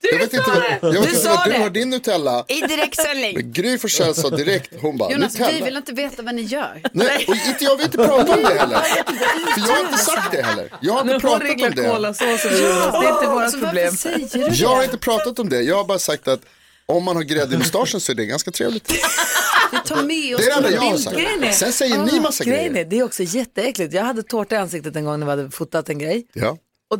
[SPEAKER 10] Du
[SPEAKER 2] Jag vet
[SPEAKER 10] sa
[SPEAKER 2] inte vad-
[SPEAKER 10] det!
[SPEAKER 2] jag vet
[SPEAKER 10] Du
[SPEAKER 2] inte
[SPEAKER 10] sa
[SPEAKER 2] vad du
[SPEAKER 10] det.
[SPEAKER 2] har din Nutella.
[SPEAKER 10] I direktsändning.
[SPEAKER 2] Men Gry Forssell sa direkt, hon bara
[SPEAKER 4] Jonas, vi
[SPEAKER 2] Nutella.
[SPEAKER 4] vill inte veta vad ni gör.
[SPEAKER 2] Nej, och inte, jag vill inte prata om det heller. För jag har inte sagt det heller. Jag har inte pratat om det.
[SPEAKER 1] det är inte vårt
[SPEAKER 4] så
[SPEAKER 1] problem.
[SPEAKER 4] Varför säger du
[SPEAKER 2] Jag har
[SPEAKER 4] det?
[SPEAKER 2] inte pratat om det. Jag har bara sagt att om man har grädde i mustaschen så är det ganska trevligt.
[SPEAKER 4] Vi tar med oss
[SPEAKER 2] Det är det enda jag har
[SPEAKER 4] bilden.
[SPEAKER 2] sagt.
[SPEAKER 1] Grejen är-
[SPEAKER 2] Sen säger ni
[SPEAKER 1] Ah,
[SPEAKER 2] massa
[SPEAKER 1] grejen
[SPEAKER 2] grejer.
[SPEAKER 1] är- Det är också jätteäckligt. Jag hade tårta i ansiktet en gång när vi hade fotat en grej.
[SPEAKER 2] Ja.
[SPEAKER 1] Och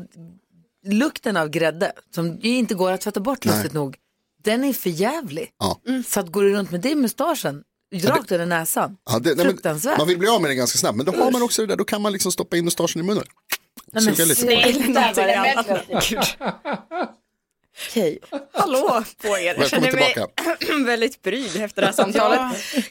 [SPEAKER 1] lukten av grädde, som ju inte går att tvätta bort
[SPEAKER 2] Nej.
[SPEAKER 1] lustigt nog, den är för jävlig. Mm.
[SPEAKER 2] Ja.
[SPEAKER 1] Så att går du runt med det i mustaschen, rakt över näsan,
[SPEAKER 2] Ja, det, nej, men,
[SPEAKER 1] fruktansvärt.
[SPEAKER 2] man vill bli av med det ganska snabbt, men då har man också det där, då kan man liksom stoppa in mustaschen i munnen.
[SPEAKER 1] Nej, men
[SPEAKER 2] Suga lite.
[SPEAKER 10] snälla variant. <laughs>
[SPEAKER 1] Okej.
[SPEAKER 10] Hallå på er. Jag
[SPEAKER 2] Välkommen
[SPEAKER 10] känner mig
[SPEAKER 2] tillbaka.
[SPEAKER 10] <clears throat> väldigt pryd efter det här samtalet.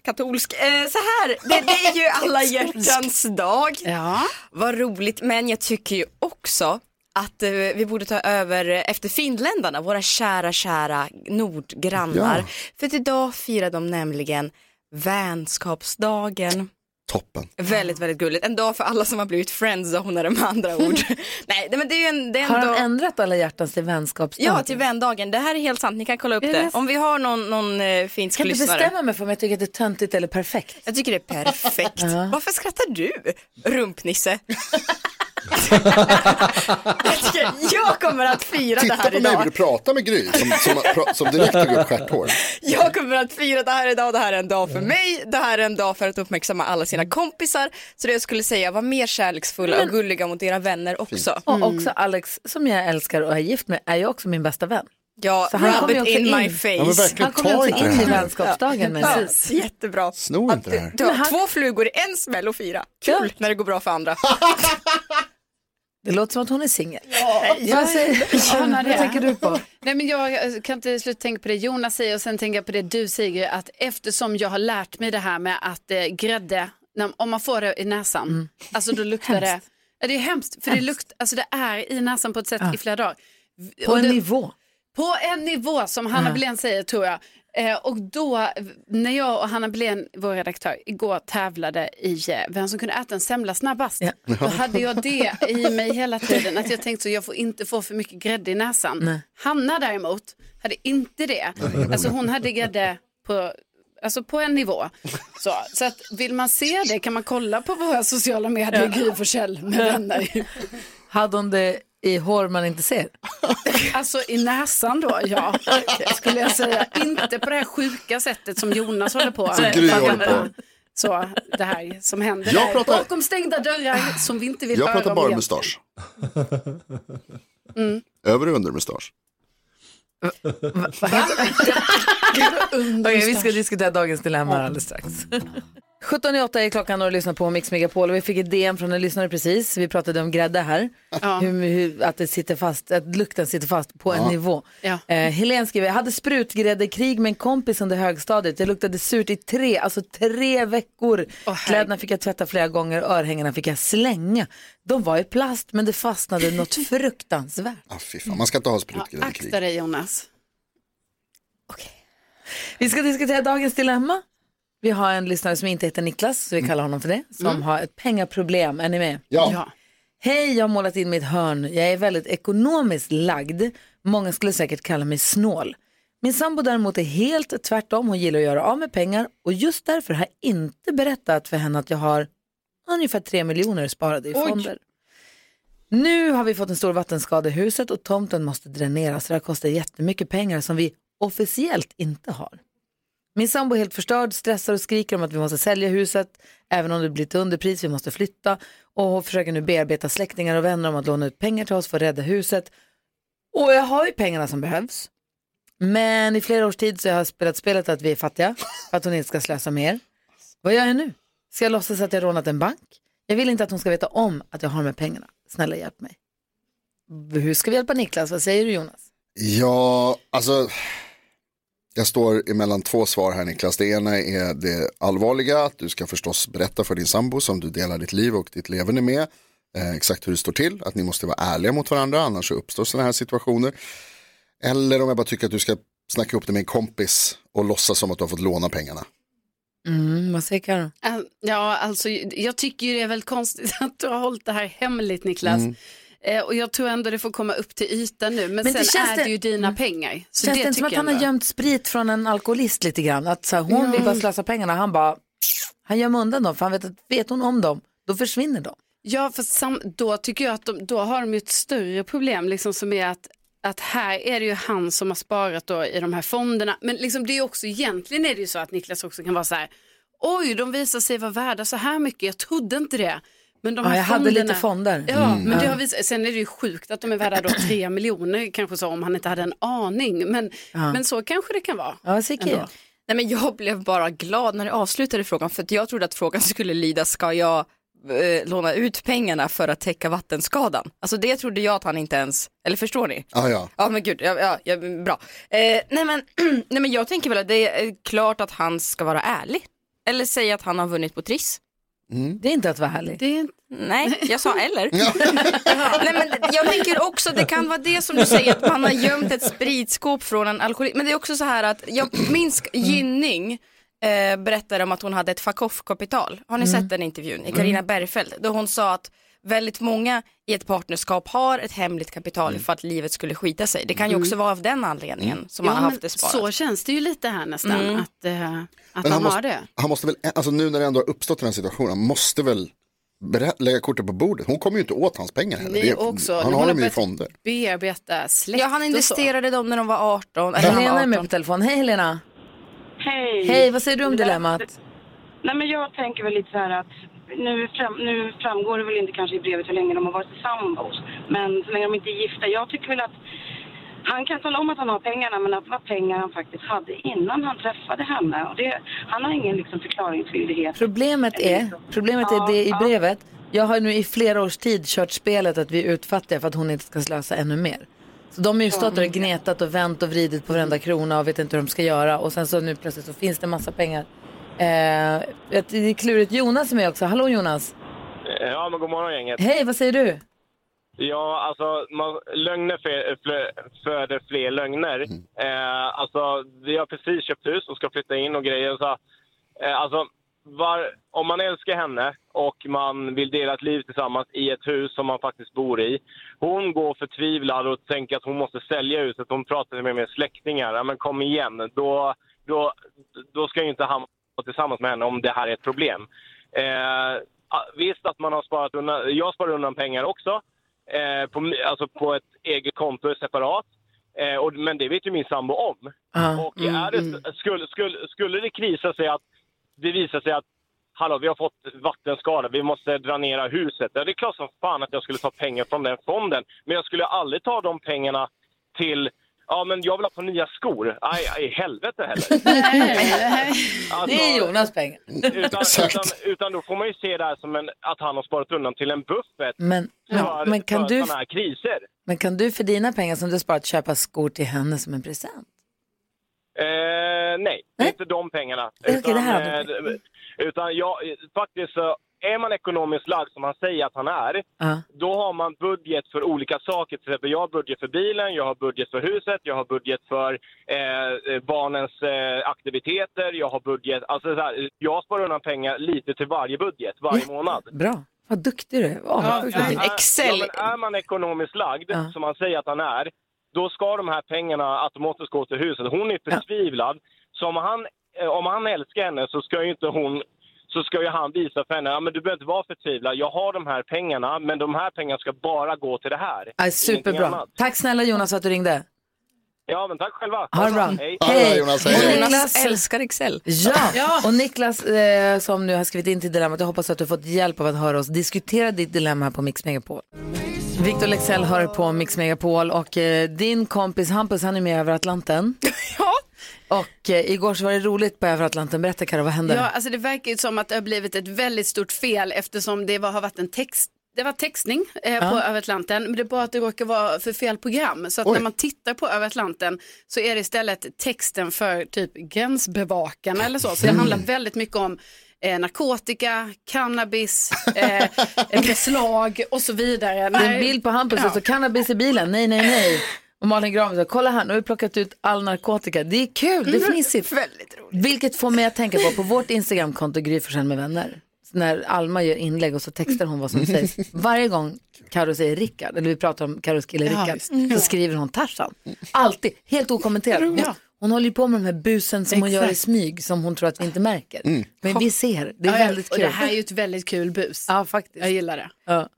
[SPEAKER 10] Katolsk. Eh, så här, det, det är ju alla hjärtans dag.
[SPEAKER 4] Ja.
[SPEAKER 10] Vad roligt, men jag tycker ju också att eh, vi borde ta över eh, efter finländarna, våra kära, kära nordgrannar.
[SPEAKER 2] Ja.
[SPEAKER 10] För att idag firar de nämligen vänskapsdagen.
[SPEAKER 2] Toppen.
[SPEAKER 10] Väldigt, väldigt gulligt. En dag för alla som har blivit friendzonade med
[SPEAKER 1] <laughs>
[SPEAKER 10] andra ord. Nej, men det är ju en, det är en
[SPEAKER 1] Har
[SPEAKER 10] dag...
[SPEAKER 1] de ändrat alla hjärtans till vänskapsdag?
[SPEAKER 10] Ja, till vändagen. Det här är helt sant. Ni kan kolla upp
[SPEAKER 1] Är
[SPEAKER 10] det.
[SPEAKER 1] det sant?
[SPEAKER 10] Om vi har någon, någon eh, finsk
[SPEAKER 1] Kan du
[SPEAKER 10] lyssnare.
[SPEAKER 1] bestämma mig för om jag tycker att det är töntigt eller perfekt?
[SPEAKER 10] Jag tycker det är perfekt. Varför skrattar du, rumpnisse? jag, tycker, jag kommer att fira det
[SPEAKER 2] Titta
[SPEAKER 10] här
[SPEAKER 2] på mig hur du
[SPEAKER 10] idag.
[SPEAKER 2] pratar med Gry, som, som, som direkt tog upp stjärthår.
[SPEAKER 10] Jag kommer att fira det här idag. Det här är en dag för
[SPEAKER 1] Mm.
[SPEAKER 10] mig. Det här är en dag för att uppmärksamma alla sina kompisar. Så det jag skulle säga, var mer kärleksfulla och gulliga mot era vänner också.
[SPEAKER 1] Och också Alex, som jag älskar och är gift med, är ju också min bästa vän.
[SPEAKER 10] Ja,
[SPEAKER 1] Så han
[SPEAKER 10] rub
[SPEAKER 1] kommer
[SPEAKER 10] it
[SPEAKER 1] ju också
[SPEAKER 10] in, my
[SPEAKER 1] in.
[SPEAKER 10] face.
[SPEAKER 1] Ja, men verkligen, Han kommer ta också inte det in i här. vänskapsdagen, men-
[SPEAKER 10] Ja,
[SPEAKER 1] Precis.
[SPEAKER 10] Jättebra.
[SPEAKER 2] Snor inte det här.
[SPEAKER 10] Du har två flugor i en smäll och fyra. Kul när det går bra för
[SPEAKER 1] <laughs>
[SPEAKER 10] andra.
[SPEAKER 1] Det låter som att hon är singel.
[SPEAKER 4] Ja,
[SPEAKER 1] Jag säger, vad tänker du på?
[SPEAKER 4] Nej, men jag eh, kan inte sluta tänka på det Jonas säger och sen tänka på det du säger att eftersom jag har lärt mig det här med att eh, grädde, när, om man får det i näsan, alltså då luktar det.
[SPEAKER 1] Mm. Hemskt.
[SPEAKER 4] Ja, det är hemskt, för det, lukt, alltså det är i näsan på ett sätt
[SPEAKER 1] Ja.
[SPEAKER 4] i flera dagar.
[SPEAKER 1] På
[SPEAKER 4] Och
[SPEAKER 1] en
[SPEAKER 4] det-
[SPEAKER 1] nivå.
[SPEAKER 4] På en nivå som Hanna
[SPEAKER 1] Ja.
[SPEAKER 4] Belén säger tror jag. Eh, och då, när jag och Hanna Belén, vår redaktör, igår tävlade i eh, vem som kunde äta en semla snabbast. Då hade jag det i mig hela tiden, att jag tänkte så jag får inte få för mycket grädde i näsan.
[SPEAKER 1] Nej.
[SPEAKER 4] Hanna däremot hade inte det. Alltså hon hade grädde på, alltså på en nivå. Så, så att vill man se det kan man kolla på våra sociala medier, Gry Forssell med vänner.
[SPEAKER 1] Hade hon det i hår man inte <laughs> ser?
[SPEAKER 4] Alltså i näsan då, ja. Skulle jag säga. Inte på det här sjuka sättet som Jonas håller på.
[SPEAKER 2] Som Gry håller på.
[SPEAKER 4] Så det här som händer
[SPEAKER 2] Jag
[SPEAKER 4] där.
[SPEAKER 2] pratar-
[SPEAKER 4] bakom stängda dörrar som vi inte vill
[SPEAKER 2] Jag
[SPEAKER 4] höra
[SPEAKER 2] pratar
[SPEAKER 4] om
[SPEAKER 2] bara
[SPEAKER 4] igen.
[SPEAKER 2] mustasch.
[SPEAKER 4] Mm.
[SPEAKER 2] Över och under mustasch.
[SPEAKER 1] Okej, vi ska diskutera dagens dilemma alldeles strax. 17 i 8 är klockan och du lyssnar på Mix Megapol och vi fick ett DM från en lyssnare precis. Vi pratade om grädde här. Hur, hur, att, det sitter fast, att lukten sitter fast på en
[SPEAKER 4] Ja.
[SPEAKER 1] nivå.
[SPEAKER 4] Ja.
[SPEAKER 1] Eh, Helen skriver, jag hade sprutgräddekrig med en kompis under högstadiet. Det luktade surt i tre, alltså tre veckor. Kläderna fick jag tvätta flera gånger, örhängena fick jag slänga. De var i plast men det
[SPEAKER 4] <laughs>
[SPEAKER 1] fastnade något fruktansvärt.
[SPEAKER 2] Ah, fy fan. Man ska inte ha sprutgrädde i krig.
[SPEAKER 4] Akta dig Jonas.
[SPEAKER 1] Vi ska diskutera dagens dilemma. Vi har en lyssnare som inte heter Niklas,
[SPEAKER 4] Mm.
[SPEAKER 1] så vi kallar honom för det, som har ett pengaproblem. Är ni med?
[SPEAKER 2] Ja.
[SPEAKER 1] Hej, jag har målat in mitt hörn. Jag är väldigt ekonomiskt lagd. Många skulle säkert kalla mig snål. Min sambo däremot är helt tvärtom. Hon gillar att göra av med pengar och just därför har jag inte berättat för henne att jag har ungefär 3 miljoner sparade i
[SPEAKER 4] Oj.
[SPEAKER 1] fonder. Nu har vi fått en stor vattenskada i huset och tomten måste dräneras. Det här kostar jättemycket pengar som vi officiellt inte har. Min sambo är helt förstörd, stressar och skriker om att vi måste sälja huset, även om det blir till underpris, vi måste flytta. Och hon försöker nu bearbeta släktingar och vänner om att låna ut pengar till oss för att rädda huset. Och jag har ju pengarna som behövs. Men i flera års tid så har jag spelat spelet att vi är fattiga, för att hon inte ska slösa mer. Vad gör jag nu? Ska jag låtsas att jag rånat en bank? Jag vill inte att hon ska veta om att jag har de här pengarna. Snälla hjälp mig. Hur ska vi hjälpa Niklas? Vad säger du Jonas?
[SPEAKER 2] Ja, alltså. Jag står emellan två svar här Niklas. Det ena är det allvarliga, att du ska förstås berätta för din sambo som du delar ditt liv och ditt leverne med. eh, exakt hur det står till, att ni måste vara ärliga mot varandra, annars så uppstår sådana här situationer. Eller om jag bara tycker att du ska snacka upp det med en kompis och låtsas som att du har fått låna pengarna.
[SPEAKER 1] Mm, vad säger Karo?
[SPEAKER 4] Eh, Ja, alltså jag tycker ju det är väldigt konstigt <laughs> att du har hållit det här hemligt Niklas.
[SPEAKER 2] Mm.
[SPEAKER 4] Eh, Och jag tror ändå det får komma upp till ytan nu. Men,
[SPEAKER 1] Men det
[SPEAKER 4] sen
[SPEAKER 1] känns
[SPEAKER 4] är
[SPEAKER 1] det-
[SPEAKER 4] det ju dina pengar. Så
[SPEAKER 1] Känns det,
[SPEAKER 4] det
[SPEAKER 1] inte som
[SPEAKER 4] tycker
[SPEAKER 1] att
[SPEAKER 4] jag
[SPEAKER 1] han har
[SPEAKER 4] ändå.
[SPEAKER 1] gömt sprit från en alkoholist lite grann? Att så här, hon
[SPEAKER 4] Mm.
[SPEAKER 1] vill bara slösa pengarna, han bara, han gömmer undan dem för han vet att vet hon om dem, då försvinner de.
[SPEAKER 4] Ja, för sam- då tycker jag att de, då har de ju ett större problem liksom, som är att, att här är det ju han som har sparat då i de här fonderna. Men liksom, det är ju också, egentligen är det ju så att Niklas också kan vara så här, oj, de visar sig vara värda så här mycket, jag trodde inte det. Men de
[SPEAKER 1] Ja,
[SPEAKER 4] här
[SPEAKER 1] jag hade
[SPEAKER 4] fonderna,
[SPEAKER 1] lite fonder.
[SPEAKER 4] Ja,
[SPEAKER 1] Mm.
[SPEAKER 4] men det
[SPEAKER 1] Ja.
[SPEAKER 4] har visat, sen är det ju sjukt att de är
[SPEAKER 1] <clears throat>
[SPEAKER 4] värda då 3 miljoner kanske så om han inte hade en aning. Men,
[SPEAKER 16] Ja.
[SPEAKER 4] men så kanske det kan vara.
[SPEAKER 1] Ja,
[SPEAKER 4] ändå.
[SPEAKER 16] Nej, men jag blev bara glad när du avslutade frågan för att jag trodde att frågan <laughs> skulle lyda ska jag eh, låna ut pengarna för att täcka vattenskadan? Alltså det trodde jag att han inte ens, eller förstår ni?
[SPEAKER 2] Ah, ja.
[SPEAKER 16] Ja men gud, ja, ja, ja, bra. Eh, nej, men, <clears throat> nej men jag tänker väl att det är klart att han ska vara ärlig. Eller säga att han har vunnit på Triss.
[SPEAKER 1] Det är inte att vara härlig.
[SPEAKER 4] Det är...
[SPEAKER 16] Nej, jag sa eller. nej, men det- jag tänker också att det kan vara det som du säger att man har gömt ett spritskåp från en alkoholist. Men det är också så här att jag minns Gynning eh, berättade om att hon hade ett fuck off-kapital. Har ni
[SPEAKER 18] Mm.
[SPEAKER 16] sett den intervjun i
[SPEAKER 18] Mm.
[SPEAKER 16] Karina Bergfeldt? Då hon sa att väldigt många i ett partnerskap har ett hemligt kapital för att livet skulle skita sig. Det kan ju
[SPEAKER 4] Mm.
[SPEAKER 16] också vara av den anledningen som
[SPEAKER 4] Ja,
[SPEAKER 16] man har
[SPEAKER 4] men
[SPEAKER 16] haft det sparat.
[SPEAKER 4] Så känns det ju lite här nästan,
[SPEAKER 16] Mm.
[SPEAKER 4] att, eh, att
[SPEAKER 2] Men
[SPEAKER 4] han har
[SPEAKER 2] måste,
[SPEAKER 4] det.
[SPEAKER 2] Han måste väl, alltså nu när det ändå har uppstått den här situationen, han måste väl berä- lägga kortet på bordet. Hon kommer ju inte åt hans pengar heller.
[SPEAKER 4] Nej,
[SPEAKER 2] Det är-
[SPEAKER 4] också.
[SPEAKER 2] han
[SPEAKER 4] Hon
[SPEAKER 2] har
[SPEAKER 4] har
[SPEAKER 2] dem ju i
[SPEAKER 4] bett-
[SPEAKER 2] fonder.
[SPEAKER 4] bearbeta släkt
[SPEAKER 16] Ja, han investerade dem när de var 18. Eller
[SPEAKER 1] Helena är
[SPEAKER 16] han var
[SPEAKER 1] med
[SPEAKER 16] 18.
[SPEAKER 1] på telefon. Hej Helena!
[SPEAKER 18] Hej!
[SPEAKER 1] Hej, vad säger du om dilemmat?
[SPEAKER 18] Nej, men jag tänker väl lite så här att nu, fram, nu framgår det väl inte kanske i brevet hur länge de har varit sambos, men så länge de inte är gifta. Jag tycker väl att han kan tala om att han har pengarna, men att det var pengar han faktiskt hade innan han träffade henne. Och det, han har ingen liksom, förklaringsskyldighet.
[SPEAKER 1] Problemet är, problemet är
[SPEAKER 18] Ja,
[SPEAKER 1] det i
[SPEAKER 18] ja.
[SPEAKER 1] brevet. Jag har nu i flera års tid kört spelet att vi är utfattiga för att hon inte ska slösa ännu mer. Så de har ju stått där
[SPEAKER 19] Mm.
[SPEAKER 1] och gnetat och vänt och vridit på varenda krona och vet inte hur de ska göra och sen så nu plötsligt så finns det massa pengar. Eh, vet du, det är klurigt. Jonas är med också. Hallå Jonas!
[SPEAKER 19] Ja, men god morgon gänget.
[SPEAKER 1] Hej, vad säger du?
[SPEAKER 19] Ja, alltså man, lögner fe- flö- föder fler lögner. Eh, alltså, vi har precis köpt hus och ska flytta in och grejer. Så, eh, alltså, var, om man älskar henne och man vill dela ett liv tillsammans i ett hus som man faktiskt bor i. Hon går förtvivlad och tänker att hon måste sälja huset. Hon pratar med mina släktingar. Ja, men kom igen, då, då, då ska ju inte han vara tillsammans med henne om det här är ett problem. Eh, ah, visst att man har sparat undan, jag sparar undan pengar också. Eh, på, mi- alltså på ett eget konto separat. Eh, och, men det vet ju min sambo om. och är
[SPEAKER 20] Mm,
[SPEAKER 19] det, skulle, skulle, skulle det krisa sig att det visar sig att Hallå, vi har fått vattenskada, vi måste dränera huset. Ja, det är klart som fan att jag skulle ta pengar från den fonden. Men jag skulle aldrig ta de pengarna till, ja men jag vill ha på nya skor. Aj, aj i helvete heller. Alltså,
[SPEAKER 1] det är Jonas pengar. <laughs>
[SPEAKER 19] Utan, utan, utan då får man ju se det här som en, att han har sparat undan till en buffert
[SPEAKER 1] Men,
[SPEAKER 19] för,
[SPEAKER 1] men, men, kan
[SPEAKER 19] för
[SPEAKER 1] du,
[SPEAKER 19] sådana här kriser.
[SPEAKER 1] men kan du för dina pengar som du sparat köpa skor till henne som en present?
[SPEAKER 19] Eh, nej, inte de pengarna.
[SPEAKER 1] Okej, det här
[SPEAKER 19] eh, utan jag, faktiskt, så är man ekonomiskt lagd som han säger att han är,
[SPEAKER 1] Ja.
[SPEAKER 19] då har man budget för olika saker. Till exempel jag har budget för bilen, jag har budget för huset, jag har budget för eh, barnens eh, aktiviteter, jag har budget... Alltså så här, jag sparar undan pengar lite till varje budget, varje månad.
[SPEAKER 1] Bra, vad duktig du är. Åh, vad duktig du är.
[SPEAKER 19] Ja, men är man ekonomiskt lagd, som man säger att han är, då ska de här pengarna automatiskt gå till huset. Hon är förtvivlad. Så om han, eh, om han älskar henne så ska ju inte hon så ska ju han visa för henne, ja, men du behöver inte vara förtvivlad, jag har de här pengarna, men de här pengarna ska bara gå till det här.
[SPEAKER 1] Aj,
[SPEAKER 19] Ingenting
[SPEAKER 1] superbra.
[SPEAKER 19] annat.
[SPEAKER 1] Tack snälla Jonas för att du ringde.
[SPEAKER 19] Ja, men tack själva.
[SPEAKER 1] Ha det bra.
[SPEAKER 19] Hej.
[SPEAKER 16] Jonas älskar Excel.
[SPEAKER 1] Ja, och Niklas eh, som nu har skrivit in till dilemmat, jag hoppas att du har fått hjälp av att höra oss diskutera ditt dilemma här på Mix Megapol. Victor Lexell hör på Mix Megapol och eh, din kompis Hampus han är med över Atlanten. ja. Och eh, igår så var det roligt på över Atlanten, berätta Karo, vad hände?
[SPEAKER 4] Ja, alltså det verkar ju som att det har blivit ett väldigt stort fel eftersom det var, har varit en text det var textning eh, på Över Atlanten, men det är bara att det råkar vara för fel program. Så att
[SPEAKER 18] Oj.
[SPEAKER 4] när man tittar på Över Atlanten så
[SPEAKER 1] Mm.
[SPEAKER 4] är det istället texten för typ gränsbevakarna eller så. Så det handlar väldigt mycket om eh, narkotika, cannabis, eh, <laughs> beslag och så vidare.
[SPEAKER 1] Det är
[SPEAKER 4] Nej.
[SPEAKER 1] en bild på Hampus
[SPEAKER 4] Ja.
[SPEAKER 1] och så cannabis i bilen, nej, nej, nej. Och Malin Gramer sa, kolla här, nu har vi plockat ut all narkotika. Det är kul, det är
[SPEAKER 4] Mhm.
[SPEAKER 21] Mm,
[SPEAKER 1] fnissigt. Väldigt roligt. Vilket får mig att tänka på, på vårt Instagramkonto Gry Forssell med vänner, så när Alma gör inlägg och så textar hon vad som sägs. Varje gång Karo säger Rickard, eller vi pratar om Karos kille
[SPEAKER 21] Ja,
[SPEAKER 1] Rickard,
[SPEAKER 21] visst. Mm.
[SPEAKER 1] så skriver hon Tarzan. Alltid, helt okommenterat. Hon, hon håller ju på med de här busen som hon gör i
[SPEAKER 4] Exakt.
[SPEAKER 1] smyg, som hon tror att vi inte märker. Men vi ser, det är
[SPEAKER 4] Ja, ja,
[SPEAKER 1] väldigt
[SPEAKER 4] och
[SPEAKER 1] kul.
[SPEAKER 4] Det här är ju ett väldigt kul bus.
[SPEAKER 1] Ja, faktiskt.
[SPEAKER 4] Jag gillar det.
[SPEAKER 1] Ja.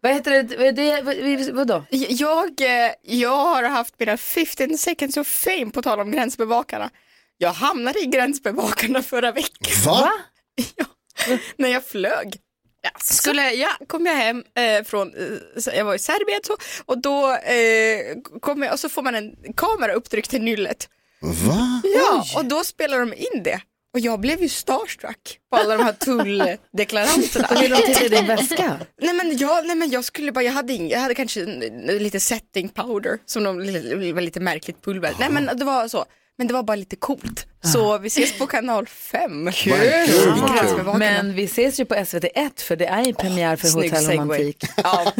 [SPEAKER 1] Vad heter det? Vad- det vad- vi- vadå?
[SPEAKER 10] Jag, eh, jag har haft mina 15 seconds of fame på tal om gränsbevakarna. Jag hamnade i gränsbevakarna förra veckan.
[SPEAKER 2] Va?
[SPEAKER 10] <laughs> Ja, när jag flög. Ja, skulle, ja, kom jag hem eh, från, eh, så- jag var i Serbien så, och då eh, kom jag, och så får man en kamera upptryckt till nyllet.
[SPEAKER 2] Va?
[SPEAKER 10] Ja, och då spelar de in det. Och jag blev ju starstruck på alla de
[SPEAKER 9] <laughs>
[SPEAKER 10] här tulldeklaranterna.
[SPEAKER 1] Vad vill de till i
[SPEAKER 10] <laughs>
[SPEAKER 1] din väska?
[SPEAKER 10] Nej men, jag, nej men jag skulle bara, jag hade, ing- jag hade kanske en- en- lite setting powder som de, li- var lite märkligt pulver. Nej men det var så, men det var bara lite coolt.
[SPEAKER 1] Ah.
[SPEAKER 10] Så vi ses på kanal 5.
[SPEAKER 1] Men vi ses ju på SVT1 för det är ju premiär för
[SPEAKER 10] snygg
[SPEAKER 1] Hotell
[SPEAKER 10] segway.
[SPEAKER 1] Romantik.
[SPEAKER 10] <laughs> Ja,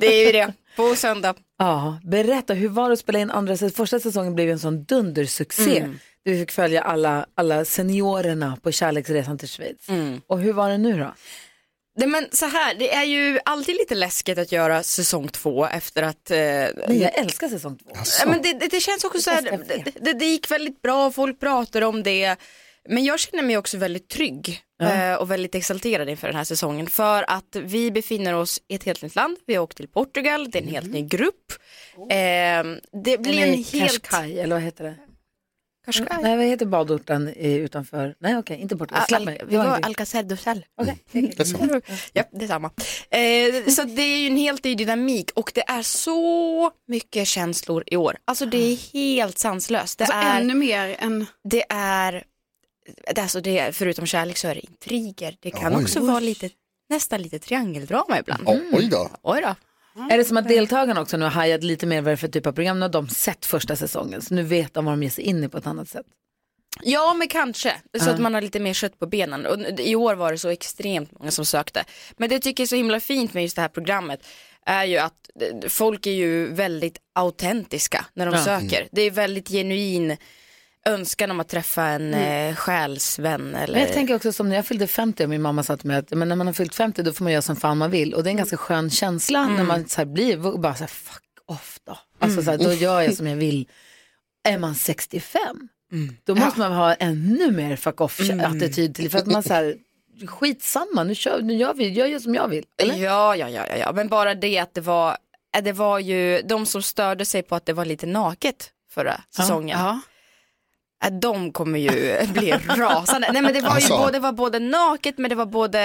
[SPEAKER 10] det är ju det. På söndag.
[SPEAKER 1] Ja, berätta, hur var det att spela in andra säsongen? Första säsongen blev ju en sån dundersuccé.
[SPEAKER 10] Mm.
[SPEAKER 1] Där vi fick följa alla, alla seniorerna på kärleksresan till Schweiz.
[SPEAKER 10] Mm.
[SPEAKER 1] Och hur var det nu då?
[SPEAKER 10] Nej men så här, det är ju alltid lite läskigt att göra säsong två efter att... Eh,
[SPEAKER 1] Nej, jag älskar säsong två.
[SPEAKER 10] Ja, men det, det, det känns också så här, det, det, det gick väldigt bra, folk pratar om det. Men jag känner mig också väldigt trygg
[SPEAKER 1] Ja.
[SPEAKER 10] eh, och väldigt exalterad inför den här säsongen. För att vi befinner oss i ett helt nytt land, vi har åkt till Portugal, det är en helt
[SPEAKER 1] Mm.
[SPEAKER 10] ny grupp.
[SPEAKER 1] Oh.
[SPEAKER 10] Eh, det blir
[SPEAKER 1] Nej,
[SPEAKER 10] en helt...
[SPEAKER 1] Qashqai, eller vad heter det?
[SPEAKER 10] Qashqai.
[SPEAKER 1] Nej, vad heter badorten eh, utanför? Nej, okej, inte Portugal. Släpp mig.
[SPEAKER 10] Vi
[SPEAKER 1] har
[SPEAKER 10] Ah, var
[SPEAKER 1] inte-
[SPEAKER 10] Alcacer du Sal.
[SPEAKER 1] <laughs>
[SPEAKER 10] Ja, det är samma. Eh, så det är ju en helt ny dynamik och det är så mycket känslor i år. Alltså det är helt sanslöst. Det
[SPEAKER 4] Alltså,
[SPEAKER 10] är
[SPEAKER 4] ännu mer än...
[SPEAKER 10] Det är, det, är alltså det är, förutom kärlek så är det intriger. Det kan
[SPEAKER 1] Oj.
[SPEAKER 10] också vara lite, nästan lite triangeldrama ibland.
[SPEAKER 2] Oj då.
[SPEAKER 10] Oj då.
[SPEAKER 1] Är det som att deltagarna också nu har hajat lite mer vad det är för typ av program? Nu har de sett första säsongen, så nu vet de vad de ger sig in i på ett annat sätt.
[SPEAKER 10] Ja men kanske, så
[SPEAKER 1] Ja.
[SPEAKER 10] att man har lite mer kött på benen. Och I år var det så extremt många som sökte. Men det jag tycker är så himla fint med just det här programmet är ju att eh, folk är ju väldigt autentiska när de
[SPEAKER 22] Ja.
[SPEAKER 10] söker.
[SPEAKER 22] Mm.
[SPEAKER 10] Det är väldigt genuin önskan om att träffa en
[SPEAKER 1] Mm.
[SPEAKER 10] eh, själsvän. Eller...
[SPEAKER 1] Men jag tänker också som när jag fyllde 50 och min mamma sa till mig att men när man har fyllt 50 då får man göra som fan man vill. Och det är en ganska skön känsla när man så här blir bara så här fuck off då. Alltså så här, då
[SPEAKER 21] Mm.
[SPEAKER 1] gör jag som jag vill. Är man 65 då måste man ha ännu mer fuck off attityd till för att man så här skitsamma nu kör nu gör vi jag gör som jag vill.
[SPEAKER 10] Ja, ja, ja, ja, ja, men bara det att det var, eh, det var ju de som störde sig på att det var lite naket förra säsongen. Eh, De kommer ju bli <laughs> rasande. Nej men det var ju
[SPEAKER 22] Alltså.
[SPEAKER 10] både, det var både naket men det var både,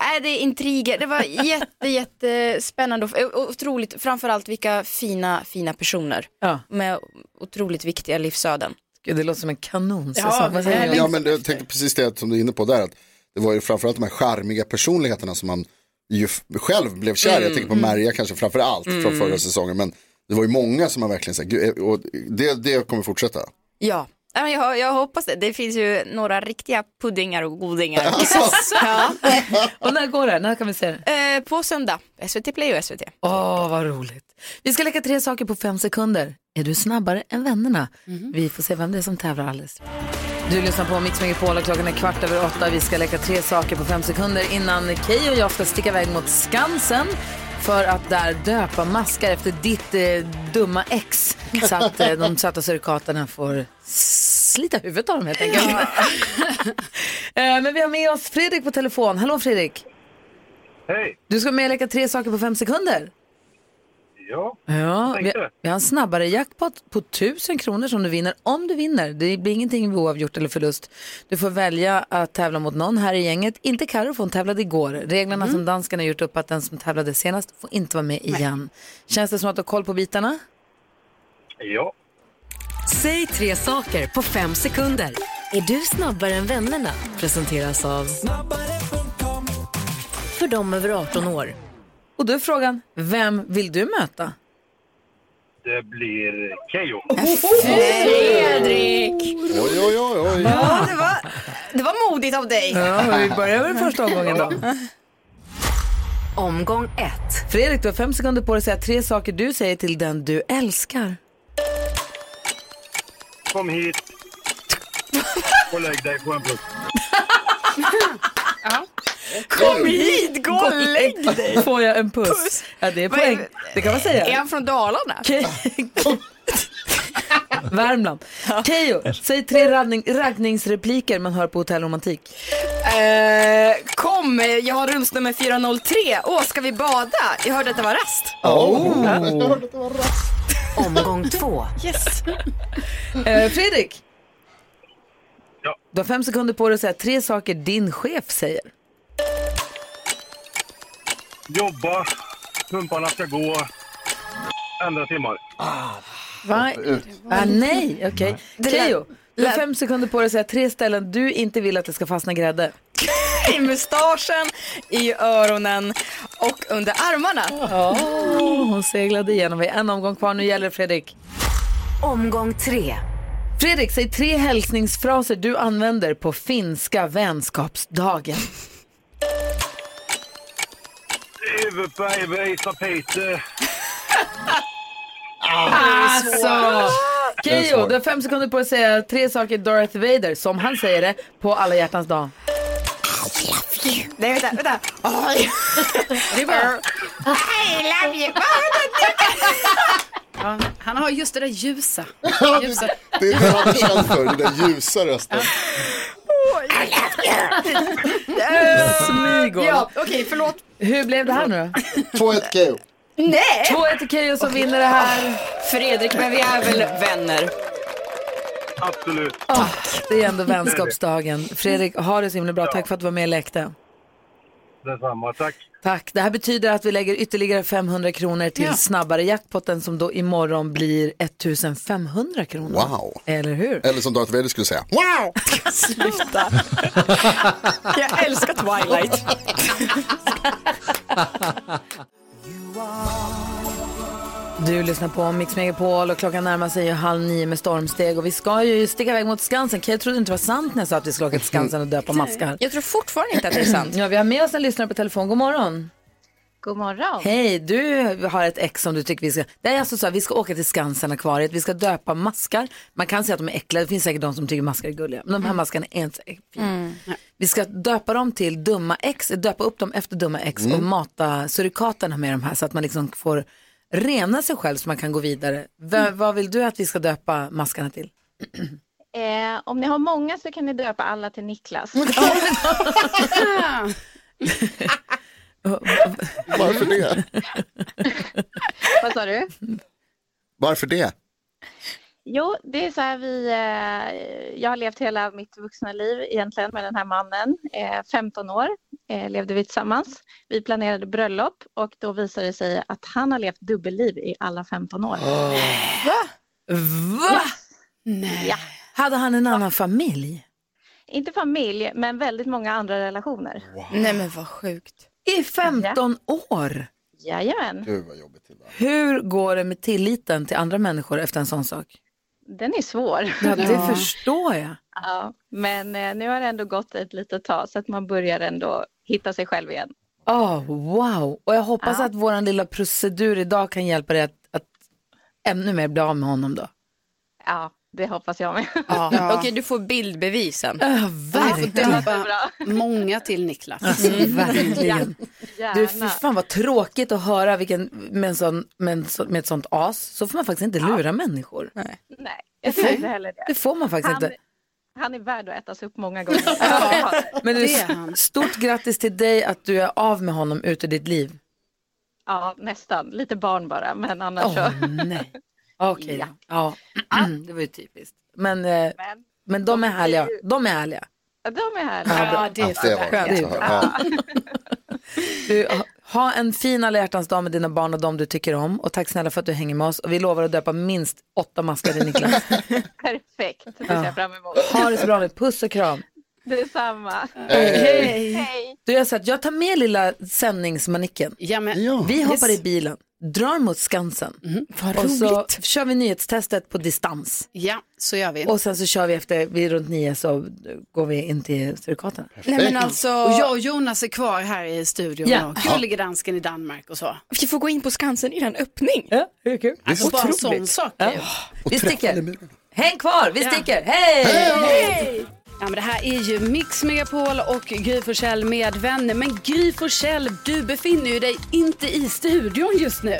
[SPEAKER 10] nej det är intriger. Det var jätte, jättespännande och och otroligt, framförallt vilka fina, fina personer.
[SPEAKER 1] Ja.
[SPEAKER 10] Med otroligt viktiga livsöden.
[SPEAKER 1] Gud, det låter som en kanonsäsong.
[SPEAKER 10] Ja,
[SPEAKER 1] Vad säger ni?
[SPEAKER 2] Ja, men jag tänkte precis det som du är inne på där. Att det var ju framförallt de här charmiga personligheterna som man ju f- själv blev kär i. Jag
[SPEAKER 5] Mm.
[SPEAKER 2] tänker på Maria kanske framför allt från
[SPEAKER 10] Mm.
[SPEAKER 2] förra säsongen. Men det var ju många som man verkligen så här, "Gud, eh", och det, det kommer fortsätta.
[SPEAKER 10] Ja. Ja, men Jag, jag hoppas det. Det finns ju några riktiga puddingar och godingar. <laughs> Ja.
[SPEAKER 1] Och när går det? När kan vi se det?
[SPEAKER 10] Eh, på söndag, SVT Play och SVT.
[SPEAKER 1] Åh, vad roligt. Vi ska leka tre saker på fem sekunder. Är du snabbare än vännerna? Vi får se vem det är som tävlar alldeles Du lyssnar på Mix Megapol och klockan är kvart över åtta. Vi ska leka tre saker på fem sekunder innan Key och jag ska sticka iväg mot Skansen för att där döpa maskar efter ditt eh, dumma ex så att eh, de söta surikaterna får slita huvudet av dem helt enkelt. <laughs> Eh, Men vi har med oss Fredrik på telefon. Hallå Fredrik!
[SPEAKER 19] Hej!
[SPEAKER 1] Du ska med och leka tre saker på fem sekunder.
[SPEAKER 19] Ja,
[SPEAKER 1] Ja, vi,
[SPEAKER 19] tänkte det.
[SPEAKER 1] vi har en snabbare jackpot på 1000 kronor som du vinner om du vinner. Det blir ingenting med oavgjort eller förlust. Du får välja att tävla mot någon här i gänget. Inte Carro för hon tävlade igår. Reglerna som danskarna har gjort upp att den som tävlade senast får inte vara med igen. Känns det som att du har koll på bitarna?
[SPEAKER 19] Ja.
[SPEAKER 14] Säg tre saker på fem sekunder. Är du snabbare än vännerna? Presenteras av... För dem över 18 år.
[SPEAKER 1] Och då är frågan, vem vill du möta?
[SPEAKER 19] Det blir Keyyo.
[SPEAKER 1] Fredrik!
[SPEAKER 2] Oj, oj, oj, oj.
[SPEAKER 10] Ja, det var, det
[SPEAKER 16] Det var modigt av dig.
[SPEAKER 1] Ja, vi börjar med den första omgången då.
[SPEAKER 14] Omgång ett.
[SPEAKER 1] Fredrik, du har fem sekunder på dig att säga tre saker du säger till den du älskar.
[SPEAKER 23] Kom hit och lägg dig på en pluss.
[SPEAKER 1] Kom hit, gå och lägg dig! <laughs> Får jag en puss? Ja, det är poäng. Det kan man säga.
[SPEAKER 16] Är han från Dalarna?
[SPEAKER 1] Värmland. Keyyo, säg tre raggning, raggningsrepliker man hör på hotellromantik.
[SPEAKER 16] Eh, kom, eh, jag har rumsnummer 403. Åh, ska vi bada? Jag hörde att det var rast.
[SPEAKER 1] Oh.
[SPEAKER 16] Jag hörde
[SPEAKER 1] att
[SPEAKER 16] det var rast.
[SPEAKER 14] Omgång två.
[SPEAKER 2] <laughs>
[SPEAKER 16] Yes.
[SPEAKER 1] Eh, Fredrik. Du har fem sekunder på dig att säga tre saker din chef säger.
[SPEAKER 23] Jobba, pumparna ska gå, ändra timmar.
[SPEAKER 1] Ah. Va?
[SPEAKER 23] Ut.
[SPEAKER 1] Ah, nej, okej.
[SPEAKER 23] Det lät-
[SPEAKER 1] Keyyo, du har
[SPEAKER 23] lät-
[SPEAKER 1] fem sekunder på dig att säga tre ställen du inte vill att det ska fastna <laughs> grädde.
[SPEAKER 16] I mustaschen, i öronen och under armarna.
[SPEAKER 1] Oh, hon seglade igenom. Vi har en omgång kvar. Nu gäller det Fredrik.
[SPEAKER 14] Omgång tre.
[SPEAKER 1] Fredrik, säg tre hälsningsfraser du använder på finska vänskapsdagen.
[SPEAKER 23] Huvudpäivej, tapete.
[SPEAKER 1] Alltså!
[SPEAKER 23] Det är
[SPEAKER 1] Keyyo,
[SPEAKER 23] svårt.
[SPEAKER 1] du har fem sekunder på dig att säga tre saker Darth Vader, som han säger det, på alla hjärtans dag.
[SPEAKER 16] Nej, vänta, vänta. Oh,
[SPEAKER 4] Det är bara...
[SPEAKER 16] I love you.
[SPEAKER 4] Ja, han har just det där ljusa. ljusa.
[SPEAKER 2] Det är det han är känd för, den där ljusa rösten.
[SPEAKER 1] Smygol.
[SPEAKER 16] Ja, okej, förlåt.
[SPEAKER 1] Hur blev det här nu då?
[SPEAKER 2] 2-1 Keyyo.
[SPEAKER 16] Nej!
[SPEAKER 1] 2-1 till Keyyo som vinner det här.
[SPEAKER 16] Fredrik, men vi är väl vänner?
[SPEAKER 23] Absolut.
[SPEAKER 1] Åh, det är ändå vänskapsdagen. Fredrik, ha det så himla bra. Tack för att du var med och lekte.
[SPEAKER 23] Detsamma, tack.
[SPEAKER 1] Tack. Det här betyder att vi lägger ytterligare 500 kronor till
[SPEAKER 23] Ja.
[SPEAKER 1] snabbare jackpotten som då imorgon blir 1500 kronor.
[SPEAKER 2] Wow.
[SPEAKER 1] Eller hur?
[SPEAKER 2] Eller som Darth Vader skulle säga.
[SPEAKER 1] Wow!
[SPEAKER 16] Sluta. <laughs> Jag älskar Twilight.
[SPEAKER 1] <laughs> Du lyssnar på Mix Megapol och klockan närmar sig ju halv nio med stormsteg och vi ska ju sticka iväg mot Skansen. Jag trodde inte det var sant när jag sa att vi skulle åka till Skansen och döpa maskar.
[SPEAKER 16] <laughs> Jag tror fortfarande inte att det är sant.
[SPEAKER 1] <clears throat> Ja, vi har med oss en lyssnare på telefon. God morgon.
[SPEAKER 22] God morgon.
[SPEAKER 1] Hej, du har ett ex som du tycker vi ska... Det är alltså så här, vi ska åka till Skansen-akvariet, vi ska döpa maskar. Man kan säga att de är äckliga, det finns säkert de som tycker maskar är gulliga. Men de
[SPEAKER 16] Mm.
[SPEAKER 1] här maskarna är inte så äckliga.
[SPEAKER 18] Mm.
[SPEAKER 1] Vi ska döpa dem till dumma ex, döpa upp dem efter dumma ex och
[SPEAKER 22] Mm.
[SPEAKER 1] mata surikaterna med de här så att man liksom får rena sig själv så man kan gå vidare. V- Vad vill du att vi ska döpa maskarna till?
[SPEAKER 22] Eh, om ni har många så kan ni döpa alla
[SPEAKER 16] <laughs>
[SPEAKER 22] till Niklas.
[SPEAKER 2] Varför det?
[SPEAKER 22] Vad sa du?
[SPEAKER 2] Varför det?
[SPEAKER 22] Jo, det är så här vi, eh, jag har levt hela mitt vuxna liv egentligen med den här mannen. Eh, 15 år eh, levde vi tillsammans. Vi planerade bröllop och då visade det sig att han har levt dubbelliv i alla 15 år.
[SPEAKER 1] Va? Va? Nej. Hade han en annan familj?
[SPEAKER 22] Inte familj, men väldigt många andra relationer.
[SPEAKER 16] Nej men vad sjukt.
[SPEAKER 1] I 15 år?
[SPEAKER 22] Jajamän.
[SPEAKER 2] Gud vad jobbigt.
[SPEAKER 1] Hur går det med tilliten till andra människor efter en sån sak?
[SPEAKER 22] Den är svår.
[SPEAKER 1] Ja, det förstår jag.
[SPEAKER 22] Ja, men eh, nu har det ändå gått ett litet tag så att man börjar ändå hitta sig själv igen.
[SPEAKER 1] Oh, wow, och jag hoppas att vår lilla procedur idag kan hjälpa dig att, att ännu mer bli av med honom då.
[SPEAKER 22] Ja, det hoppas jag med. <laughs>
[SPEAKER 16] Ja.
[SPEAKER 1] Ja.
[SPEAKER 16] Okej, du får bildbevisen.
[SPEAKER 1] verkligen.
[SPEAKER 16] Du
[SPEAKER 4] får döpa många till Niklas. Mm.
[SPEAKER 1] Verkligen. Du, fy fan vad tråkigt att höra vilken, med, en sån, med, en sån, med ett sånt as. Så får man faktiskt inte lura människor. Nej.
[SPEAKER 22] Nej, jag tror inte heller det.
[SPEAKER 1] Det får man faktiskt
[SPEAKER 22] han,
[SPEAKER 1] inte.
[SPEAKER 22] Han är värd att ätas upp många
[SPEAKER 1] <laughs>
[SPEAKER 22] gånger.
[SPEAKER 1] Men du, stort grattis till dig att du är av med honom ut ur ditt liv.
[SPEAKER 22] Ja, nästan. Lite barn bara, men annars
[SPEAKER 1] Åh
[SPEAKER 22] så.
[SPEAKER 1] nej. Okej,
[SPEAKER 22] Ja.
[SPEAKER 1] ja. <clears throat> det var ju typiskt. Men, men, men de är härliga. De är härliga.
[SPEAKER 22] Ja, De är här.
[SPEAKER 1] Ja, bra. Det är bra. Du, ha- ha en fin alla hjärtans dag med dina barn och de du tycker om. Och tack snälla för att du hänger med oss. Och vi lovar att döpa minst åtta maskar till
[SPEAKER 22] <laughs>
[SPEAKER 1] Niklas.
[SPEAKER 22] <laughs> Perfekt, det ser
[SPEAKER 1] Ja.
[SPEAKER 22] jag fram emot.
[SPEAKER 1] Ha det så bra nu. Puss och kram.
[SPEAKER 22] Detsamma.
[SPEAKER 1] Hej.
[SPEAKER 22] Hej.
[SPEAKER 1] Du, jag, har sagt, jag tar med lilla sändningsmanicken.
[SPEAKER 4] Ja,
[SPEAKER 1] Vi hoppar
[SPEAKER 4] Yes. Mm-hmm.
[SPEAKER 1] i bilen. drar mot Skansen.
[SPEAKER 4] vad
[SPEAKER 1] och så
[SPEAKER 4] roligt.
[SPEAKER 1] kör vi nyhetstestet på distans.
[SPEAKER 4] Ja, så gör vi.
[SPEAKER 1] Och sen så kör vi efter, vi är runt nio så går vi in till Sturecoaterna.
[SPEAKER 4] Nej, men alltså... Och jag och Jonas är kvar här i studion
[SPEAKER 1] Ja.
[SPEAKER 4] och
[SPEAKER 1] Ja.
[SPEAKER 4] gullige dansken i Danmark och så.
[SPEAKER 24] Vi får gå in på Skansen innan öppning.
[SPEAKER 1] Ja, hur kul?
[SPEAKER 4] Alltså bara en sån sak är ju-
[SPEAKER 1] Vi sticker. Häng kvar, vi sticker. Hej!
[SPEAKER 4] Ja, men det här är ju Mix Megapol och Gry Forssell med vänner. Men Gry Forssell, du befinner ju dig inte i studion just nu.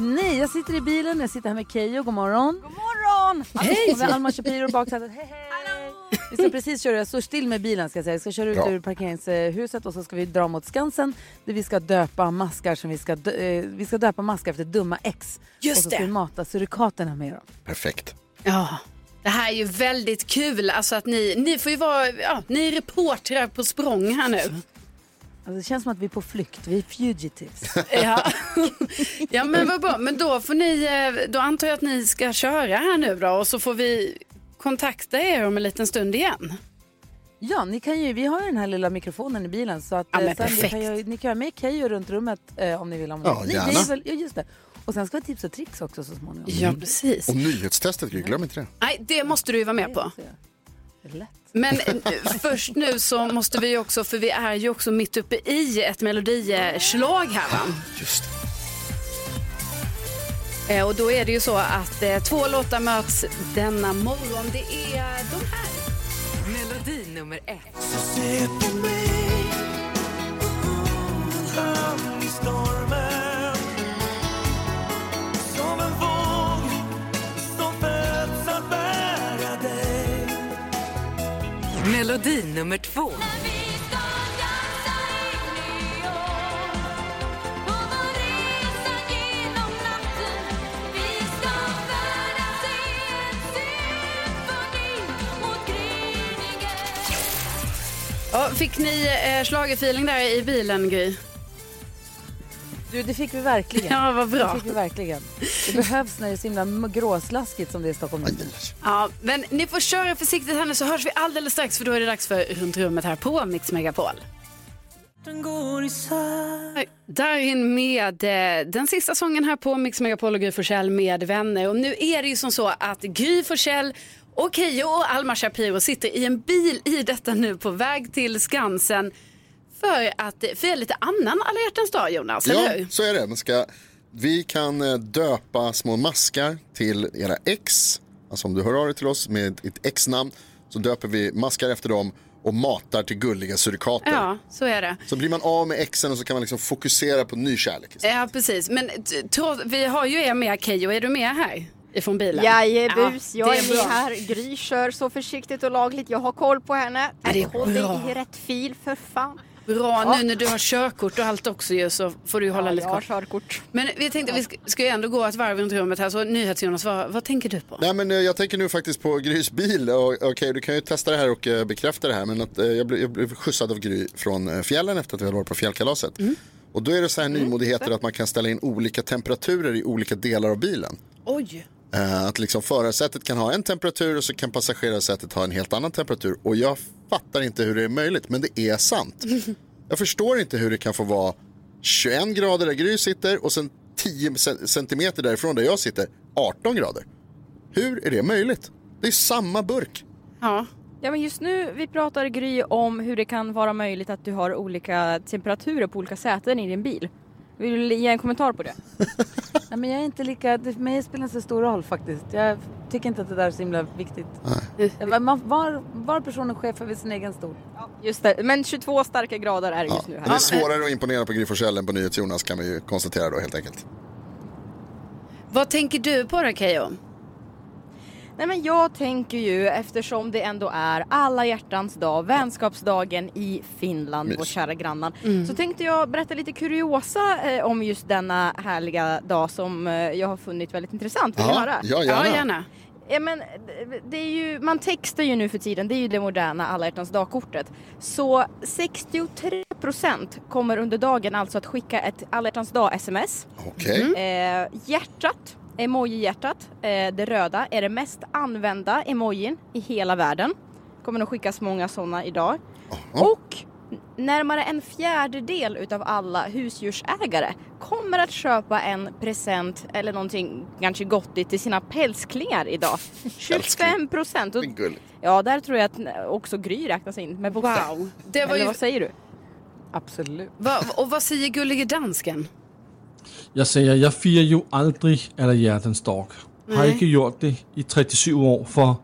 [SPEAKER 1] Nej, jag sitter i bilen, jag sitter här med Keyyo, god morgon. God
[SPEAKER 20] morgon!
[SPEAKER 1] Hej! Med Alma Shapiro i baksätet, hej hej! Vi ska precis köra, jag står still med bilen ska jag säga. Jag ska köra ut
[SPEAKER 20] Bra.
[SPEAKER 1] ur parkeringshuset och så ska vi dra mot Skansen där vi ska döpa maskar som vi ska, dö- eh, vi ska döpa maskar efter dumma ex.
[SPEAKER 4] Just
[SPEAKER 1] och så ska
[SPEAKER 4] det.
[SPEAKER 1] vi mata surikaterna med dem.
[SPEAKER 2] Perfekt.
[SPEAKER 4] Ja, det här är ju väldigt kul. Alltså att ni, ni får ju vara, ja, ni är reportrar på språng här nu.
[SPEAKER 1] Alltså, det känns som att vi är på flykt, vi är fugitives. <laughs>
[SPEAKER 4] Ja, ja men vad bra. Men då får ni, eh, då antar jag att ni ska köra här nu då och så får vi kontakta er om en liten stund igen.
[SPEAKER 1] Ja, ni kan ju, vi har ju den här lilla mikrofonen i bilen så att
[SPEAKER 4] <laughs> Ja,
[SPEAKER 1] eh,
[SPEAKER 4] men
[SPEAKER 1] sen
[SPEAKER 4] perfekt.
[SPEAKER 1] kan ju, ni kan ha med Keyyo runt rummet eh, om ni vill. Om
[SPEAKER 2] Ja,
[SPEAKER 1] ni,
[SPEAKER 2] gärna.
[SPEAKER 1] Det är väl, ja, just det. Och sen ska vi ha tips och tricks också så småningom.
[SPEAKER 2] Mm. Och nyhetstestet, Gry, glöm inte det.
[SPEAKER 4] Nej, det måste du ju vara med på. Men eh, först nu så måste vi ju också, för vi är ju också mitt uppe i ett melodislag här va?
[SPEAKER 2] Just
[SPEAKER 4] Eh, Och då är det ju så att eh, två låtar möts denna morgon. Det är de här.
[SPEAKER 8] Melodi nummer ett. Melodi nummer två.
[SPEAKER 4] Ja, fick ni eh, schlagerfeeling där i bilen Gry?
[SPEAKER 1] Du, det fick vi verkligen.
[SPEAKER 4] Ja, vad bra.
[SPEAKER 1] Det fick vi verkligen. Det behövs när det är så himla m- gråslaskigt som det är i Stockholm.
[SPEAKER 4] Ja, men ni får köra försiktigt här nu så hörs vi alldeles strax för då är det dags för Runt rummet här på Mix Megapol. Darin med eh, den sista sången här på Mix Megapol och Gry Forssell med vänner. Och nu är det ju som så att Gry Forssell och Keyyo och Alma Shapiro sitter i en bil i detta nu på väg till Skansen för att eh, fira lite annan alla hjärtans dag Jonas, eller hur?
[SPEAKER 2] ja, så är det. Man ska, vi kan eh, döpa små maskar till era ex. Alltså om du hör av dig till oss med ett ex-namn så döper vi maskar efter dem och matar till gulliga surikater.
[SPEAKER 4] Ja, så är det.
[SPEAKER 2] Så blir man av med exen och så kan man liksom fokusera på ny kärlek.
[SPEAKER 4] Ja, precis. Men t- tro- vi har ju er med Keyyo, är du med här ifrån bilen?
[SPEAKER 20] Jajebus,
[SPEAKER 4] Ja,
[SPEAKER 20] jag
[SPEAKER 4] det
[SPEAKER 20] är,
[SPEAKER 4] bra.
[SPEAKER 20] med här. Gry kör så försiktigt och lagligt. Jag har koll på henne.
[SPEAKER 4] Ja, det är
[SPEAKER 20] Håll dig
[SPEAKER 4] bra.
[SPEAKER 20] i rätt fil för fan.
[SPEAKER 4] Bra,
[SPEAKER 20] Ja.
[SPEAKER 4] nu när du har körkort och allt också ju så får du ju hålla
[SPEAKER 20] Ja,
[SPEAKER 4] lite
[SPEAKER 20] jag har
[SPEAKER 4] koll. Men vi tänkte vi ska, ska ju ändå gå ett varv runt rummet här så NyhetsJonas, vad, vad tänker du på?
[SPEAKER 2] Nej, men eh, jag tänker nu faktiskt på Grys bil. Och, okej, du kan ju testa det här och eh, bekräfta det här. Men att, eh, jag, blev, jag blev skjutsad av Gry från eh, fjällen efter att vi hade varit på fjällkalaset.
[SPEAKER 4] Mm.
[SPEAKER 2] Och då är det så här nymodigheter att man kan ställa in olika temperaturer i olika delar av bilen.
[SPEAKER 4] Oj!
[SPEAKER 2] Eh, Att liksom förarsätet kan ha en temperatur och så kan passagerarsätet ha en helt annan temperatur. Och jag fattar inte hur det är möjligt, men det
[SPEAKER 4] <laughs>
[SPEAKER 2] är sant. Jag förstår inte hur det kan få vara 21 grader där Gry sitter och sen 10 cen- centimeter därifrån där jag sitter 18 grader. Hur är det möjligt? Det är samma burk.
[SPEAKER 4] Ja.
[SPEAKER 10] Ja men just nu, vi pratar Gry om hur det kan vara möjligt att du har olika temperaturer på olika säten i din bil. Vill du ge en kommentar på det?
[SPEAKER 1] Nej, men jag är inte lika, det, för mig spelar inte så stor roll faktiskt. Jag tycker inte att det där är så himla viktigt. Jag- Man, var, var person är chef över sin egen stol.
[SPEAKER 10] Just det, men 22 starka grader är det just nu
[SPEAKER 2] Men
[SPEAKER 10] här.
[SPEAKER 2] det är svårare att imponera på Gry Forssell än på NyhetsJonas kan vi ju konstatera då helt enkelt.
[SPEAKER 4] Vad tänker du på då Keyyo?
[SPEAKER 10] Nej men jag tänker ju eftersom det ändå är alla hjärtans dag, vänskapsdagen i Finland,
[SPEAKER 20] Mys.
[SPEAKER 10] vårt kära grannland.
[SPEAKER 20] Mm.
[SPEAKER 10] Så tänkte jag berätta lite kuriosa eh, om just denna härliga dag som eh, jag har funnit väldigt intressant. Vill ni
[SPEAKER 20] Ja,
[SPEAKER 10] höra?
[SPEAKER 20] ja, gärna. Ja, gärna.
[SPEAKER 10] Ja, men det- det är ju, man textar ju nu för tiden, det är ju det moderna alla hjärtans dag-kortet. Så 63% kommer under dagen alltså att skicka ett alla hjärtans dag-sms.
[SPEAKER 2] Okej.
[SPEAKER 10] Eh, hjärtat, emoji-hjärtat, eh, det röda, är det mest använda emojin i hela världen. kommer nog skickas många sådana idag. Och
[SPEAKER 20] Närmare en fjärdedel utav alla husdjursägare kommer att köpa en present eller någonting ganska gottigt till sina pälsklingar
[SPEAKER 4] <laughs>
[SPEAKER 20] idag. 25 procent. Och, ja, där tror jag att också Gry räknas in med boxen.
[SPEAKER 4] Wow. Det var
[SPEAKER 20] eller
[SPEAKER 4] ju-
[SPEAKER 20] vad säger du?
[SPEAKER 1] Absolut.
[SPEAKER 4] Va, och vad säger gullige dansken?
[SPEAKER 5] Jeg siger, jeg firer jo aldrig Allerhjertens Dag. Har
[SPEAKER 4] Nej.
[SPEAKER 5] ikke gjort det i 37 år, for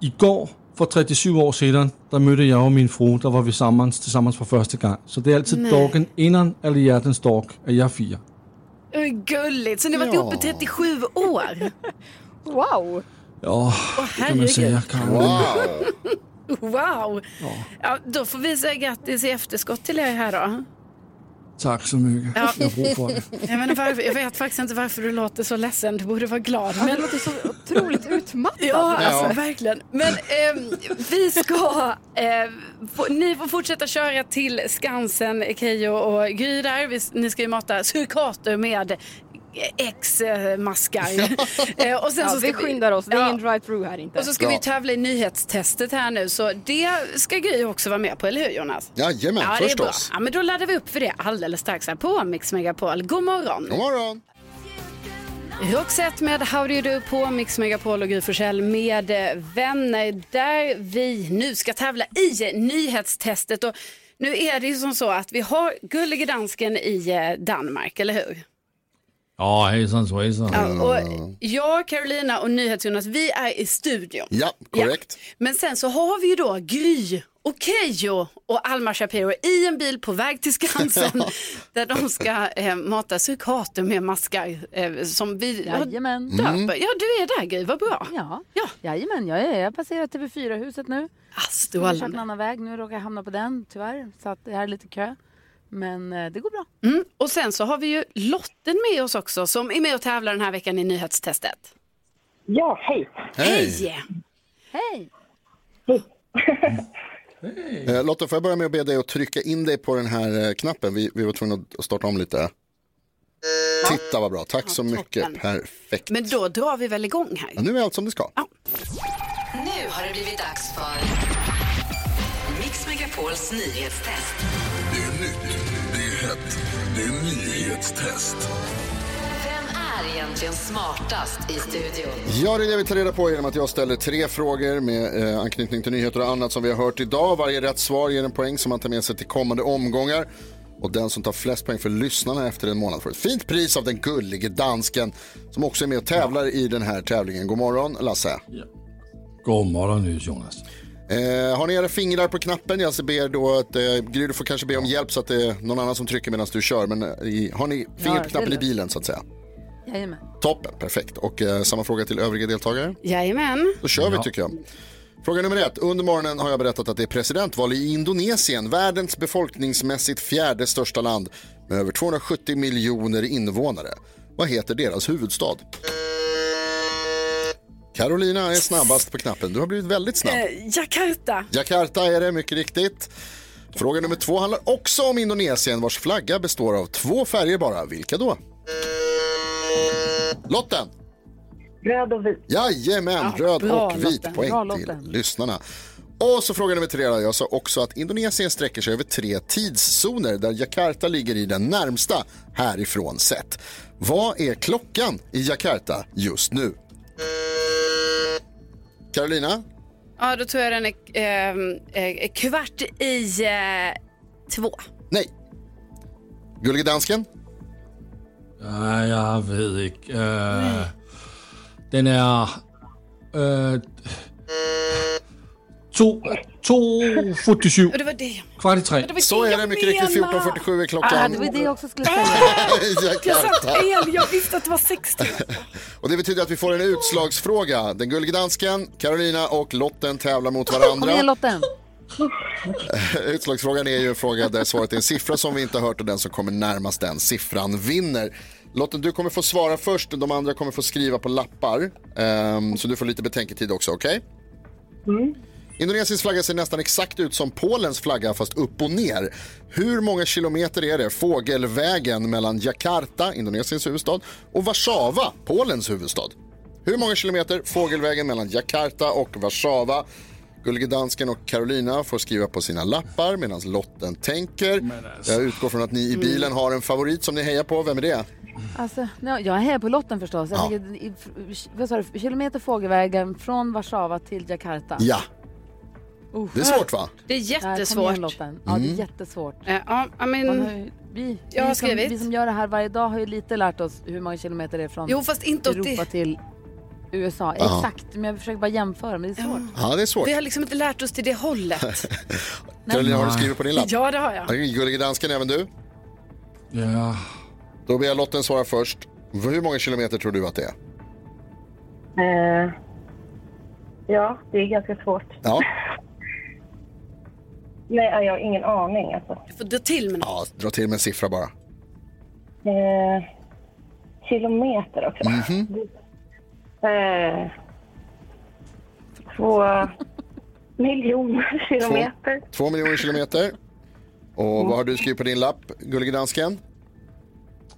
[SPEAKER 5] i går for 37 år siden, der mødte jeg jo min fru, der var vi sammen, sammen for første gang. Så det er altid
[SPEAKER 4] Nej.
[SPEAKER 5] dagen inden Allerhjertens Dag, at jeg firer.
[SPEAKER 4] Oj, Gulligt, så ni har varit
[SPEAKER 5] Ja.
[SPEAKER 4] ihop i 37 år?
[SPEAKER 20] <laughs> Wow!
[SPEAKER 5] Ja, oh, det kan man sige,
[SPEAKER 4] herregud.
[SPEAKER 5] Karin.
[SPEAKER 4] <laughs> Wow! Ja, då får vi säga grattis i efterskott till er här då.
[SPEAKER 5] Tak så mycket. <laughs>
[SPEAKER 4] Ja.
[SPEAKER 5] Jeg har brug for det.
[SPEAKER 4] Jag, menar, varför, jag vet faktiskt inte varför du låter så ledsen. Du borde vara glad. Men... Du
[SPEAKER 20] låter så otroligt utmattad.
[SPEAKER 4] Ja, alltså,
[SPEAKER 20] Ja.
[SPEAKER 4] verkligen. Men ehm, vi ska... Eh, få, ni får fortsätta köra till Skansen, Keyyo och Gry där. Vi, ni ska ju mata surikater med X-maskar. <laughs> Eh, och sen
[SPEAKER 20] Ja,
[SPEAKER 4] så ska
[SPEAKER 20] vi skyndar oss. Det är ingen drive-through här inte.
[SPEAKER 4] Och så ska vi tävla i nyhetstestet här nu, så det ska Gry också vara med på, eller hur Jonas?
[SPEAKER 2] Jajamän,
[SPEAKER 4] ja, det är bra.
[SPEAKER 2] förstås.
[SPEAKER 4] Ja, men då laddar vi upp för det alldeles strax här på Mix Megapol. God morgon!
[SPEAKER 2] God morgon!
[SPEAKER 4] Roxette med How Do You Do på Mix Megapol och Gry Forssell med eh, vänner där vi nu ska tävla i nyhetstestet. Och nu är det ju som så att vi har Gullige Dansken i eh, Danmark, eller hur?
[SPEAKER 5] Åh, oh, hejsan svejsan.
[SPEAKER 4] Ja, och jag, Carolina och NyhetsJonas, vi är i studion.
[SPEAKER 2] Ja, korrekt.
[SPEAKER 4] Men sen så har vi ju då Gry och Keyyo och Alma Shapiro i en bil på väg till
[SPEAKER 2] <laughs>
[SPEAKER 4] Skansen där de ska eh, mata surikater med maskar eh, som vi
[SPEAKER 1] Jajamän.
[SPEAKER 4] döper.
[SPEAKER 1] Mm.
[SPEAKER 4] Ja, du är där Gry, vad bra.
[SPEAKER 1] Ja, ja. jajamän. Jag, är, jag passerar TV4-huset nu.
[SPEAKER 4] Astrålande.
[SPEAKER 1] Jag köpte en annan väg. Nu råkar jag hamna på den, tyvärr. Så att det här är lite kö. Men eh, det går bra.
[SPEAKER 4] Mm. Och sen så har vi ju Lotten med oss också som är med och tävlar den här veckan i nyhetstestet.
[SPEAKER 25] Ja, hej.
[SPEAKER 4] Hej!
[SPEAKER 1] Hej!
[SPEAKER 2] Eh, Lotta, får jag börja med att be dig att trycka in dig på den här eh, knappen? Vi, vi var tvungna att starta om lite. Titta vad bra, tack så mycket. Perfekt.
[SPEAKER 4] Eh. Men då drar vi väl igång här.
[SPEAKER 2] Ja, nu är allt som det ska.
[SPEAKER 14] Nu har det blivit dags för Mix Megapols nyhetstest.
[SPEAKER 26] Det är nytt, det är hett, det är nyhetstest.
[SPEAKER 14] Vem är egentligen smartast i studion?
[SPEAKER 2] Ja, det är det vi tar reda på genom att jag ställer tre frågor med eh, anknytning till nyheter och annat som vi har hört idag. Varje rätt svar ger en poäng som man tar med sig till kommande omgångar. Och den som tar flest poäng för lyssnarna efter en månad får ett fint pris av den gullige dansken som också är med och tävlar i den här tävlingen. God morgon, Lasse.
[SPEAKER 5] Godmorgen, Nyheds Jonas.
[SPEAKER 2] Eh, har ni era fingrar på knappen? Jag ber då att eh, Gry, du får kanske be om hjälp så att det är någon annan som trycker medan du kör. Men eh, i, har ni fingrar
[SPEAKER 1] Ja,
[SPEAKER 2] på knappen
[SPEAKER 1] det
[SPEAKER 2] i
[SPEAKER 1] är
[SPEAKER 2] bilen så att säga?
[SPEAKER 1] Jajamän.
[SPEAKER 2] Toppen, perfekt. Och eh, samma fråga till övriga deltagare?
[SPEAKER 4] Jajamän.
[SPEAKER 2] Då kör vi tycker jag. Fråga nummer ett. Under morgonen har jag berättat att det är presidentval i Indonesien, världens befolkningsmässigt fjärde största land med över 270 miljoner invånare. Vad heter deras huvudstad? Carolina är snabbast på knappen. Du har blivit väldigt snabb.
[SPEAKER 4] Eh, Jakarta.
[SPEAKER 2] Jakarta är det, mycket riktigt. Fråga nummer två handlar också om Indonesien vars flagga består av två färger bara. Vilka då? Lotten!
[SPEAKER 25] Röd och vit.
[SPEAKER 2] Jajamän,
[SPEAKER 25] Ja,
[SPEAKER 2] röd
[SPEAKER 25] bra,
[SPEAKER 2] och vit.
[SPEAKER 25] Lotten. Bra,
[SPEAKER 2] Poäng till
[SPEAKER 25] Lotten.
[SPEAKER 2] lyssnarna. Och så fråga nummer tre. då. Jag sa också att Indonesien sträcker sig över tre tidszoner där Jakarta ligger i den närmsta härifrån sett. Vad är klockan i Jakarta just nu? Carolina?
[SPEAKER 4] Ja, då tror jag den är eh, eh, kvart i eh, två.
[SPEAKER 2] Nej.
[SPEAKER 25] <laughs>
[SPEAKER 2] Gullige dansken?
[SPEAKER 5] Ja, jeg ved ikke. Øh, den er... Øh, to... To... 47.
[SPEAKER 4] Det var det.
[SPEAKER 5] Kvart i tre.
[SPEAKER 4] det var Så det är det, jag mycket riktigt. menar. 14.47
[SPEAKER 2] är
[SPEAKER 1] Ah, det var det jag också skulle säga.
[SPEAKER 4] <laughs> Jag sa
[SPEAKER 2] Jakarta.
[SPEAKER 4] fel, jag visste att det var 60.
[SPEAKER 2] Och det betyder att vi får en utslagsfråga. Den gullige dansken, Carolina och Lotten tävlar mot varandra.
[SPEAKER 1] Kom igen Lotten.
[SPEAKER 2] <laughs> Utslagsfrågan är ju en fråga där svaret är en siffra som vi inte har hört och den som kommer närmast den siffran vinner. Lotten, du kommer få svara först, de andra kommer få skriva på lappar. Ehm, så du får lite betänketid också, okej? Mm. Indonesiens flagga ser nästan exakt ut som Polens flagga fast upp och ner. Hur många kilometer är det fågelvägen mellan Jakarta, Indonesiens huvudstad, och Warszawa, Polens huvudstad? Hur många kilometer fågelvägen mellan Jakarta och Warszawa? Gullige dansken och Carolina får skriva på sina lappar medan lotten tänker. Jag utgår från att ni i bilen har en favorit som ni hejar på. Vem är det?
[SPEAKER 1] Alltså, nej, jag är här på lotten förstås. Jag
[SPEAKER 2] Ja.
[SPEAKER 1] tänker, i- f- vad sa du, kilometer fågelvägen från Warszawa till Jakarta.
[SPEAKER 2] Ja,
[SPEAKER 1] Usch.
[SPEAKER 2] det är svårt va?
[SPEAKER 4] Det är
[SPEAKER 1] Nej, kom
[SPEAKER 4] jättesvårt.
[SPEAKER 1] igen, Lotten. ja, det är
[SPEAKER 2] Mm.
[SPEAKER 1] jättesvårt.
[SPEAKER 4] Eh, Ja, ja, men-
[SPEAKER 1] Man har ju- vi,
[SPEAKER 4] Jag har
[SPEAKER 1] vi, som,
[SPEAKER 4] skrivit.
[SPEAKER 1] vi som gör det här varje dag har ju lite lärt oss hur många kilometer det är från
[SPEAKER 4] Jo, fast inte åt det-
[SPEAKER 1] Europa till USA.
[SPEAKER 2] Ja.
[SPEAKER 1] Exakt, men jag försöker bara jämföra, men det är svårt.
[SPEAKER 2] Ja, det är svårt.
[SPEAKER 4] Vi har liksom inte lärt oss till det hållet.
[SPEAKER 2] <laughs> Carolina, har du skrivit på din lapp?
[SPEAKER 4] Ja, det har jag.
[SPEAKER 2] Okej, Gullige dansken, även du?
[SPEAKER 5] Ja.
[SPEAKER 2] Då ber jag Lotten svara först. Hur många kilometer tror du att det är?
[SPEAKER 27] Eh, ja, det är ganska svårt.
[SPEAKER 2] Ja,
[SPEAKER 27] Nej, jag har ingen aning alltså.
[SPEAKER 4] Får dra till med
[SPEAKER 2] ja dra till med en siffra bara.
[SPEAKER 27] Eh, kilometer också.
[SPEAKER 4] Mhm.
[SPEAKER 27] Eh, två miljoner kilometer.
[SPEAKER 2] Två miljoner kilometer. Och vad har du skrivit på din lapp, Gullige dansken?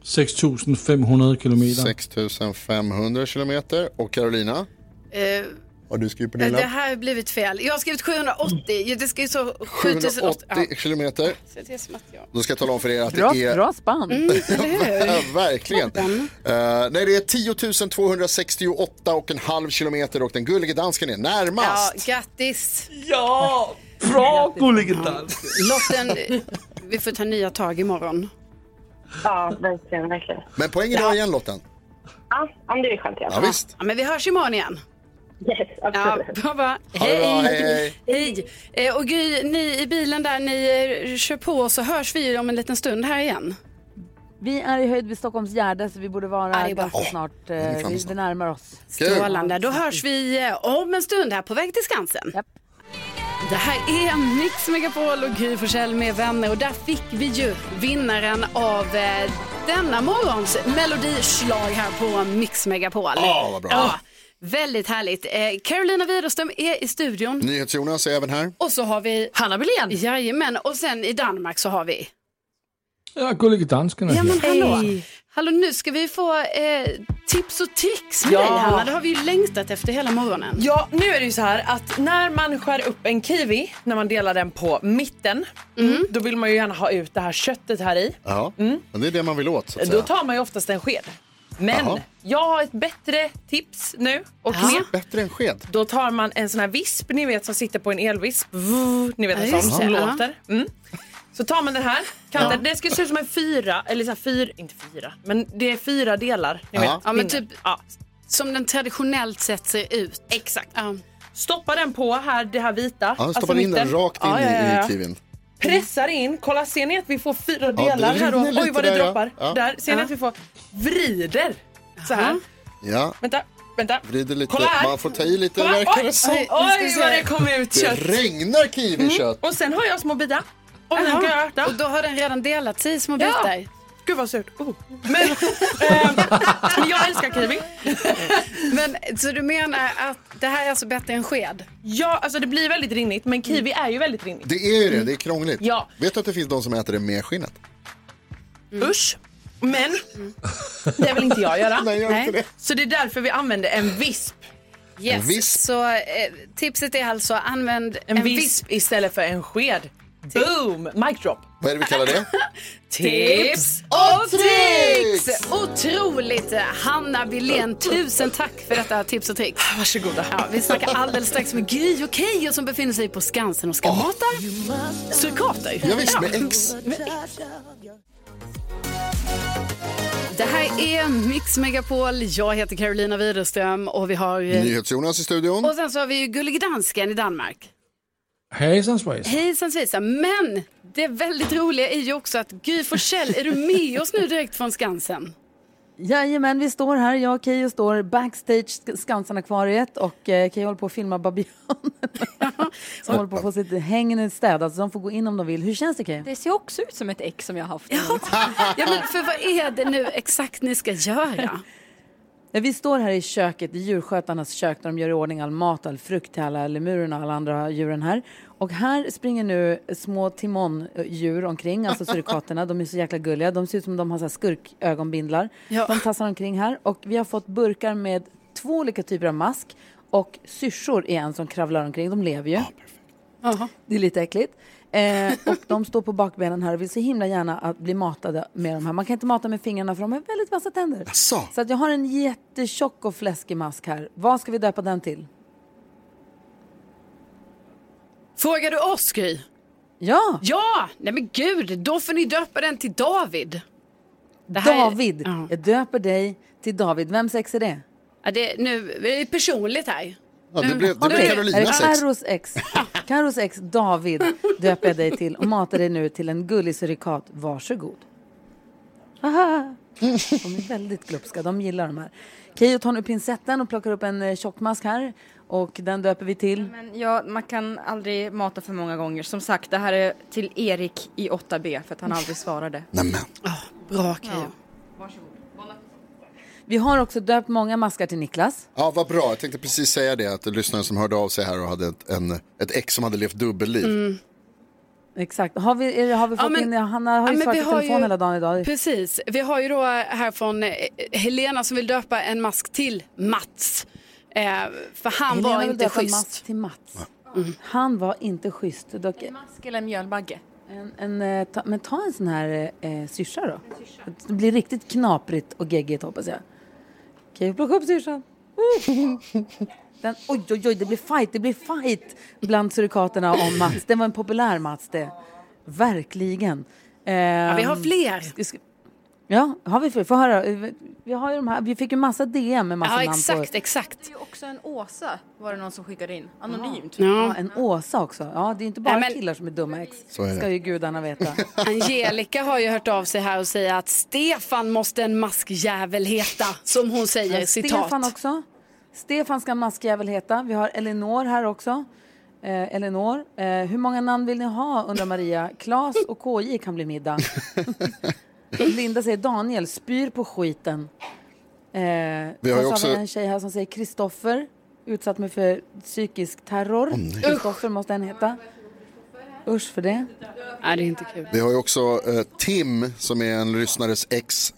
[SPEAKER 5] 6.500 kilometer.
[SPEAKER 2] 6500 kilometer. Och Carolina,
[SPEAKER 4] Eh,
[SPEAKER 2] vad har du skrivit på din
[SPEAKER 4] det
[SPEAKER 2] lapp?
[SPEAKER 4] här har blivit fel. Jag har skrivit 780. Det ska ju så 7080.
[SPEAKER 2] 780 kilometer.
[SPEAKER 4] Så det är som att jag...
[SPEAKER 2] Då ska jag tala om för er att
[SPEAKER 4] Bra-
[SPEAKER 2] det är...
[SPEAKER 4] bra
[SPEAKER 1] spann.
[SPEAKER 4] Mm,
[SPEAKER 2] <laughs>
[SPEAKER 4] <laughs> eller
[SPEAKER 2] Verkligen. Eh, nej, det är 10 268 och en halv kilometer och den gullige dansken är
[SPEAKER 4] Ja,
[SPEAKER 2] närmast.
[SPEAKER 4] grattis.
[SPEAKER 5] Ja, bra gullige dansken.
[SPEAKER 4] Lotten, eh, vi får ta nya tag imorgon.
[SPEAKER 27] Ja, verkligen, verkligen.
[SPEAKER 2] Men poäng idag igen Lotten.
[SPEAKER 27] Ja, ja, men det är skönt i alla
[SPEAKER 2] Ja,
[SPEAKER 27] fall.
[SPEAKER 2] visst.
[SPEAKER 4] Ja, men vi hörs imorgon igen.
[SPEAKER 27] Yes,
[SPEAKER 4] Ja,
[SPEAKER 27] absolut.
[SPEAKER 4] bra, bra.
[SPEAKER 2] Ha det
[SPEAKER 4] Hej.
[SPEAKER 2] bra, hej,
[SPEAKER 4] hej. Eh, Och Gry, ni i bilen där, ni eh, kör på så hörs vi ju om en liten stund här igen.
[SPEAKER 1] Vi är i höjd vid Stockholms Gärde så vi borde vara ganska snart. eh,
[SPEAKER 4] är framme
[SPEAKER 1] vi, vi närmar oss.
[SPEAKER 4] Strålande. Då hörs vi eh, om en stund här på väg till Skansen. Det här är Mix Megapol och Gry Forssell med vänner och där fick vi ju vinnaren av eh, denna morgons melodislag här på Mix Megapol.
[SPEAKER 2] Ja, vad bra.
[SPEAKER 4] väldigt härligt. Eh, Carolina Widerström är i studion
[SPEAKER 2] NyhetsJonas är även här.
[SPEAKER 4] och så har vi Hanna Billén. Jajamän, och sen i Danmark så har vi
[SPEAKER 5] Ja, gullige dansken är
[SPEAKER 4] Ja men
[SPEAKER 5] här.
[SPEAKER 4] hallå. hallå, nu ska vi få eh, tips och tricks med
[SPEAKER 8] Ja.
[SPEAKER 4] dig Hanna. Det har vi ju längtat efter hela morgonen.
[SPEAKER 8] Ja, nu är det ju så här att när man skär upp en kiwi, när man delar den på mitten, då vill man ju gärna ha ut det här köttet här i.
[SPEAKER 2] Ja, men det är det man vill åt så att
[SPEAKER 8] Mm. Då
[SPEAKER 2] säga.
[SPEAKER 8] tar man ju oftast en sked. Men
[SPEAKER 2] Jaha.
[SPEAKER 8] jag har ett bättre tips nu och knep.
[SPEAKER 2] Bättre än sked.
[SPEAKER 8] Då tar man en sån här visp, ni vet som sitter på en elvisp. Vuh, Ni vet
[SPEAKER 4] Ja,
[SPEAKER 8] en
[SPEAKER 4] just
[SPEAKER 8] sån som
[SPEAKER 4] det, ja.
[SPEAKER 8] låter. Mm. Så tar man den här kanten. Det ska se ut som en fyra, eller så här fyra, inte fyra, men det är fyra delar. Ni
[SPEAKER 4] Ja.
[SPEAKER 8] vet,
[SPEAKER 4] Ja, men
[SPEAKER 8] pinnen.
[SPEAKER 4] typ
[SPEAKER 8] ja.
[SPEAKER 4] som den traditionellt sett ser ut.
[SPEAKER 8] Exakt. Stoppa den på här, det här vita.
[SPEAKER 2] Ja,
[SPEAKER 8] alltså
[SPEAKER 2] stoppar in den
[SPEAKER 8] mitten.
[SPEAKER 2] rakt in
[SPEAKER 8] Ja, ja, ja, ja.
[SPEAKER 2] i kiwin.
[SPEAKER 8] Pressar in, kolla ser ni att vi får fyra
[SPEAKER 2] det
[SPEAKER 8] delar här då?
[SPEAKER 2] rinner lite
[SPEAKER 8] Oj vad det
[SPEAKER 2] där, ja.
[SPEAKER 8] droppar.
[SPEAKER 2] Ja.
[SPEAKER 8] Där, ser ni
[SPEAKER 2] Ja.
[SPEAKER 8] att vi får vrider. Så här.
[SPEAKER 2] Ja,
[SPEAKER 8] Vänta, vänta.
[SPEAKER 2] vrider lite.
[SPEAKER 8] Kolla här.
[SPEAKER 2] Man får ta i lite
[SPEAKER 8] Kolla,
[SPEAKER 2] verkar
[SPEAKER 8] oj,
[SPEAKER 2] det som.
[SPEAKER 8] oj, oj, vad det kom ut
[SPEAKER 2] Det
[SPEAKER 8] kött. Mm.
[SPEAKER 2] regnar kiwikött.
[SPEAKER 8] Och sen har jag små bitar. Och
[SPEAKER 4] Jaha.
[SPEAKER 8] den kan jag äta.
[SPEAKER 4] Och då har den redan delat sig i små bitar.
[SPEAKER 8] Ja. Gud vad surt. Oh. Men, ehm, men jag älskar kiwi.
[SPEAKER 4] Mm. <laughs> Men, så du menar att det här är alltså bättre än sked? Mm.
[SPEAKER 8] Ja, alltså det blir väldigt rinnigt men kiwi är ju väldigt rinnigt.
[SPEAKER 2] Det är ju det, det är krångligt.
[SPEAKER 8] Ja.
[SPEAKER 2] Vet du att det finns de som äter det med skinnet?
[SPEAKER 4] Mm.
[SPEAKER 8] Usch. Men det vill inte jag göra.
[SPEAKER 2] <laughs> Nej, gör inte det.
[SPEAKER 8] Så det är därför vi använder en visp.
[SPEAKER 4] Yes.
[SPEAKER 2] Visp.
[SPEAKER 4] Så eh, tipset är alltså använd
[SPEAKER 8] En, visp, istället för en sked. Boom! Mic drop.
[SPEAKER 2] Vad är det vi kallar det?
[SPEAKER 8] <laughs> Tips
[SPEAKER 4] och tricks! Otroligt! Hanna Billén, tusen tack för detta tips och tricks.
[SPEAKER 8] Varsågoda.
[SPEAKER 4] Ja, vi snackar alldeles strax med Gry och Keyyo som befinner sig på Skansen och ska mata surikater.
[SPEAKER 2] Ja, visst, med X.
[SPEAKER 4] Det här är Mix Megapol. Jag heter Carolina Widerström och vi har... eh,
[SPEAKER 2] NyhetsJonas i studion.
[SPEAKER 4] Och sen så har vi ju Gullige Dansken i Danmark.
[SPEAKER 5] Hejsan svejsan.
[SPEAKER 4] Hejsan svejsan. Men det väldigt roliga är ju också att Gry Forssell, är du med oss nu direkt från Skansen?
[SPEAKER 1] Jajamän, vi står här. Jag och Keyyo står backstage Sk- Skansen-akvariet och eh, Keyyo håller på att
[SPEAKER 4] <laughs>
[SPEAKER 1] filma Babianen <laughs> som håller på att få sitt häng städat så de får gå in om de vill. Hur känns det Keyyo?
[SPEAKER 4] Det ser också ut som ett ex som jag har haft. Ja, <laughs> ja men för vad är det nu exakt ni ska göra?
[SPEAKER 1] Ja, vi står här i köket, i djurskötarnas kök, där de gör i ordning all mat, all frukt till alla lemurerna och alla andra djuren här. Och här springer nu små timondjur omkring, alltså surikaterna. De är så jäkla gulliga. De ser ut som de har så här skurkögonbindlar. De tassar omkring här och vi har fått burkar med två olika typer av mask. och syrsor är en som kravlar omkring. De lever ju. Det är lite äckligt. Eh, och de står på bakbenen här och vill så himla gärna att bli matade med de här. Man kan inte mata med fingrarna för de har väldigt vassa tänder. Så att jag har en jättetjock och fläskig mask här. Vad ska vi döpa den till?
[SPEAKER 4] Frågar du oss, Gry?
[SPEAKER 1] Ja.
[SPEAKER 4] Ja, nej men gud, då får ni döpa den till David. Det här är-
[SPEAKER 1] David. Jag döper dig till David. Vems ex är det?
[SPEAKER 4] Ja, det, nu är det personligt här.
[SPEAKER 1] Ja,
[SPEAKER 4] Nu- nu-
[SPEAKER 1] ex. Carros ex. Carros ex David döper jag dig till och matar dig nu till en gullig surikat. Varsågod. Haha. De är väldigt glupska, de gillar de här. Keyyo tar nu pincetten och plockar upp en eh, tjockmask här och den döper vi till.
[SPEAKER 10] Men ja, man kan aldrig mata för många gånger. Som sagt, det här är till Erik i 8B för att han aldrig svarade.
[SPEAKER 2] Nämen.
[SPEAKER 4] Bra Keyyo.
[SPEAKER 1] Vi har också döpt många maskar till Niklas.
[SPEAKER 2] Ja, vad bra. Jag tänkte precis säga det, att lyssnaren som hörde av sig här och hade ett, en, ett ex som hade levt dubbelliv.
[SPEAKER 1] Mm, Exakt. Har vi, är det- har vi
[SPEAKER 4] Mm. Ja,
[SPEAKER 1] fått
[SPEAKER 4] men-
[SPEAKER 1] in, Hanna har
[SPEAKER 4] ja,
[SPEAKER 1] ju
[SPEAKER 4] men
[SPEAKER 1] svarat
[SPEAKER 4] vi
[SPEAKER 1] i
[SPEAKER 4] har
[SPEAKER 1] telefon
[SPEAKER 4] ju-
[SPEAKER 1] hela dagen idag.
[SPEAKER 4] Precis. Vi har ju då här från eh, Helena som vill döpa en mask till Mats. Eh, för han
[SPEAKER 1] Helena
[SPEAKER 4] var
[SPEAKER 1] vill
[SPEAKER 4] inte schysst.
[SPEAKER 1] döpa
[SPEAKER 4] Mm.
[SPEAKER 1] Mats till Mats. Han var inte schysst. Dock,
[SPEAKER 10] Mask eller mjölbagge?
[SPEAKER 1] en, en, eh, ta, men ta en sån här eh, syrsa då. Det blir riktigt knaprigt och geggigt hoppas jag. Kan jag plocka
[SPEAKER 4] <laughs>
[SPEAKER 1] upp syrsan? Den, oj, oj, oj, det blir fight, det blir fight bland surikaterna om Mats. Det var en populär Mats det. Verkligen.
[SPEAKER 4] Ja, vi har
[SPEAKER 1] Ehm,
[SPEAKER 4] fler.
[SPEAKER 1] Ja, har vi fler? Få höra. Eh, Vi, har ju de här, vi fick ju massa DM med massa
[SPEAKER 10] Ja,
[SPEAKER 1] namn
[SPEAKER 10] exakt,
[SPEAKER 1] på.
[SPEAKER 4] exakt.
[SPEAKER 10] Det är ju också en Åsa, var det någon som skickade in. Anonymt.
[SPEAKER 1] Ja, en Åsa också. Ja, det är ju inte bara
[SPEAKER 4] Nej, men-
[SPEAKER 1] killar som är dumma ex.
[SPEAKER 4] Så är det.
[SPEAKER 1] ska ju gudarna veta.
[SPEAKER 4] Angelica har ju hört av sig här och säger att Stefan måste en maskjävel heta, som hon säger,
[SPEAKER 1] Men
[SPEAKER 4] Eh, citat.
[SPEAKER 1] Stefan också. Stefan ska maskjävel heta. Vi har Elinor här också. Eh, Elinor, eh, hur många namn vill ni ha undrar Maria. Klas och KJ kan bli middag. Linda säger Daniel, spyr på skiten. Eh,
[SPEAKER 2] ju
[SPEAKER 1] och så
[SPEAKER 2] också-
[SPEAKER 1] har vi en tjej här som säger Kristoffer, utsatt mig för psykisk terror. Kristoffer måste han heta. Usch för det.
[SPEAKER 4] Nej, det är inte kul.
[SPEAKER 2] Vi har ju också eh, Tim som är en lyssnares ex,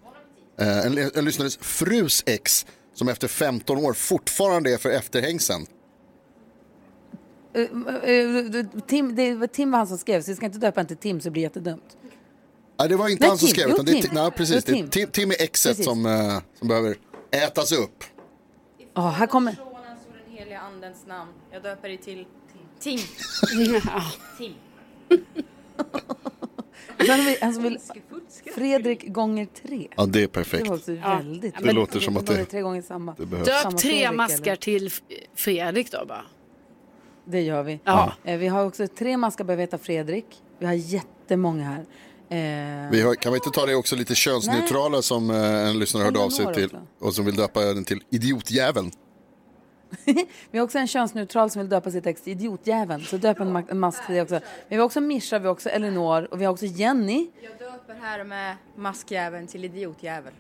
[SPEAKER 2] eh, en, en lyssnares frus ex som efter 15 år fortfarande är för efterhängsen.
[SPEAKER 1] Eh, eh, Tim, det var Tim var han som skrev, så vi ska inte döpa en till Tim så det blir jättedumt.
[SPEAKER 2] Nej, det var inte
[SPEAKER 1] Nej,
[SPEAKER 2] han som
[SPEAKER 1] Tim.
[SPEAKER 2] skrev.
[SPEAKER 1] Jo,
[SPEAKER 2] utan det är
[SPEAKER 1] Tim.
[SPEAKER 2] Ti- Nej, precis.
[SPEAKER 1] Jo,
[SPEAKER 2] Det är
[SPEAKER 1] Tim.
[SPEAKER 2] Tim, Tim är exet
[SPEAKER 1] Precis.
[SPEAKER 2] som, eh, som behöver ätas upp.
[SPEAKER 1] Ja, här kommer...
[SPEAKER 10] Sonen står den heliga andens namn. Jag döper dig till Tim. Tim.
[SPEAKER 1] Sen har vi en som vill... Fredrik gånger tre.
[SPEAKER 2] Ja, det är perfekt.
[SPEAKER 1] Det var också
[SPEAKER 4] Ja.
[SPEAKER 1] väldigt...
[SPEAKER 2] Det låter som att
[SPEAKER 1] var
[SPEAKER 2] det-
[SPEAKER 1] tre gånger samma.
[SPEAKER 2] det behövs.
[SPEAKER 1] samma
[SPEAKER 4] Döp tre
[SPEAKER 1] Fredrik,
[SPEAKER 4] maskar
[SPEAKER 1] eller?
[SPEAKER 4] till F- Fredrik då bara.
[SPEAKER 1] Det gör vi.
[SPEAKER 4] Ja.
[SPEAKER 1] Eh, vi har också tre maskar behöver heta Fredrik. Vi har jättemånga här. Eh,
[SPEAKER 2] Vi har, kan vi inte ta det också lite könsneutrala som eh, en lyssnare hörde av sig
[SPEAKER 1] Eleanor
[SPEAKER 2] till
[SPEAKER 1] också.
[SPEAKER 2] och som vill döpa den till idiotjäveln.
[SPEAKER 1] <laughs> vi har också en könsneutral som vill döpa sitt ex till idiotjäveln. Så döp en, ma- en mask till det också. Men vi har också Mischa, vi har också Elinor och vi har också Jenny.
[SPEAKER 10] Jag döper här med maskjäveln till idiotjävel.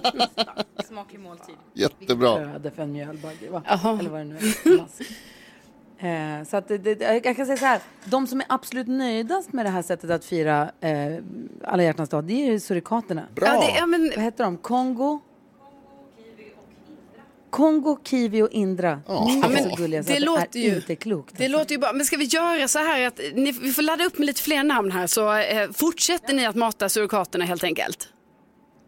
[SPEAKER 10] <laughs> Smaklig måltid.
[SPEAKER 2] Jättebra.
[SPEAKER 1] Öde för en mjölbagge, va?
[SPEAKER 10] Jaha.
[SPEAKER 1] Eller vad det nu är.
[SPEAKER 4] <laughs>
[SPEAKER 1] Mask. Eh, så att det, det, jag kan säga så här, de som är absolut nöjdast med det här sättet att fira eh, alla hjärtans dag, det är ju surikaterna.
[SPEAKER 4] Bra. Ja, det- ja,
[SPEAKER 1] Vad heter de? Kongo? Kongo, kiwi och Indra. Ni
[SPEAKER 4] Ja,
[SPEAKER 1] är
[SPEAKER 4] men
[SPEAKER 1] så gulliga så
[SPEAKER 4] det
[SPEAKER 1] att
[SPEAKER 4] låter
[SPEAKER 1] är
[SPEAKER 4] ju-
[SPEAKER 1] inte klokt.
[SPEAKER 4] Det låter ju bra. Men ska vi göra så här att ni, vi får ladda upp med lite fler namn här så eh, fortsätter ni att mata surikaterna helt enkelt.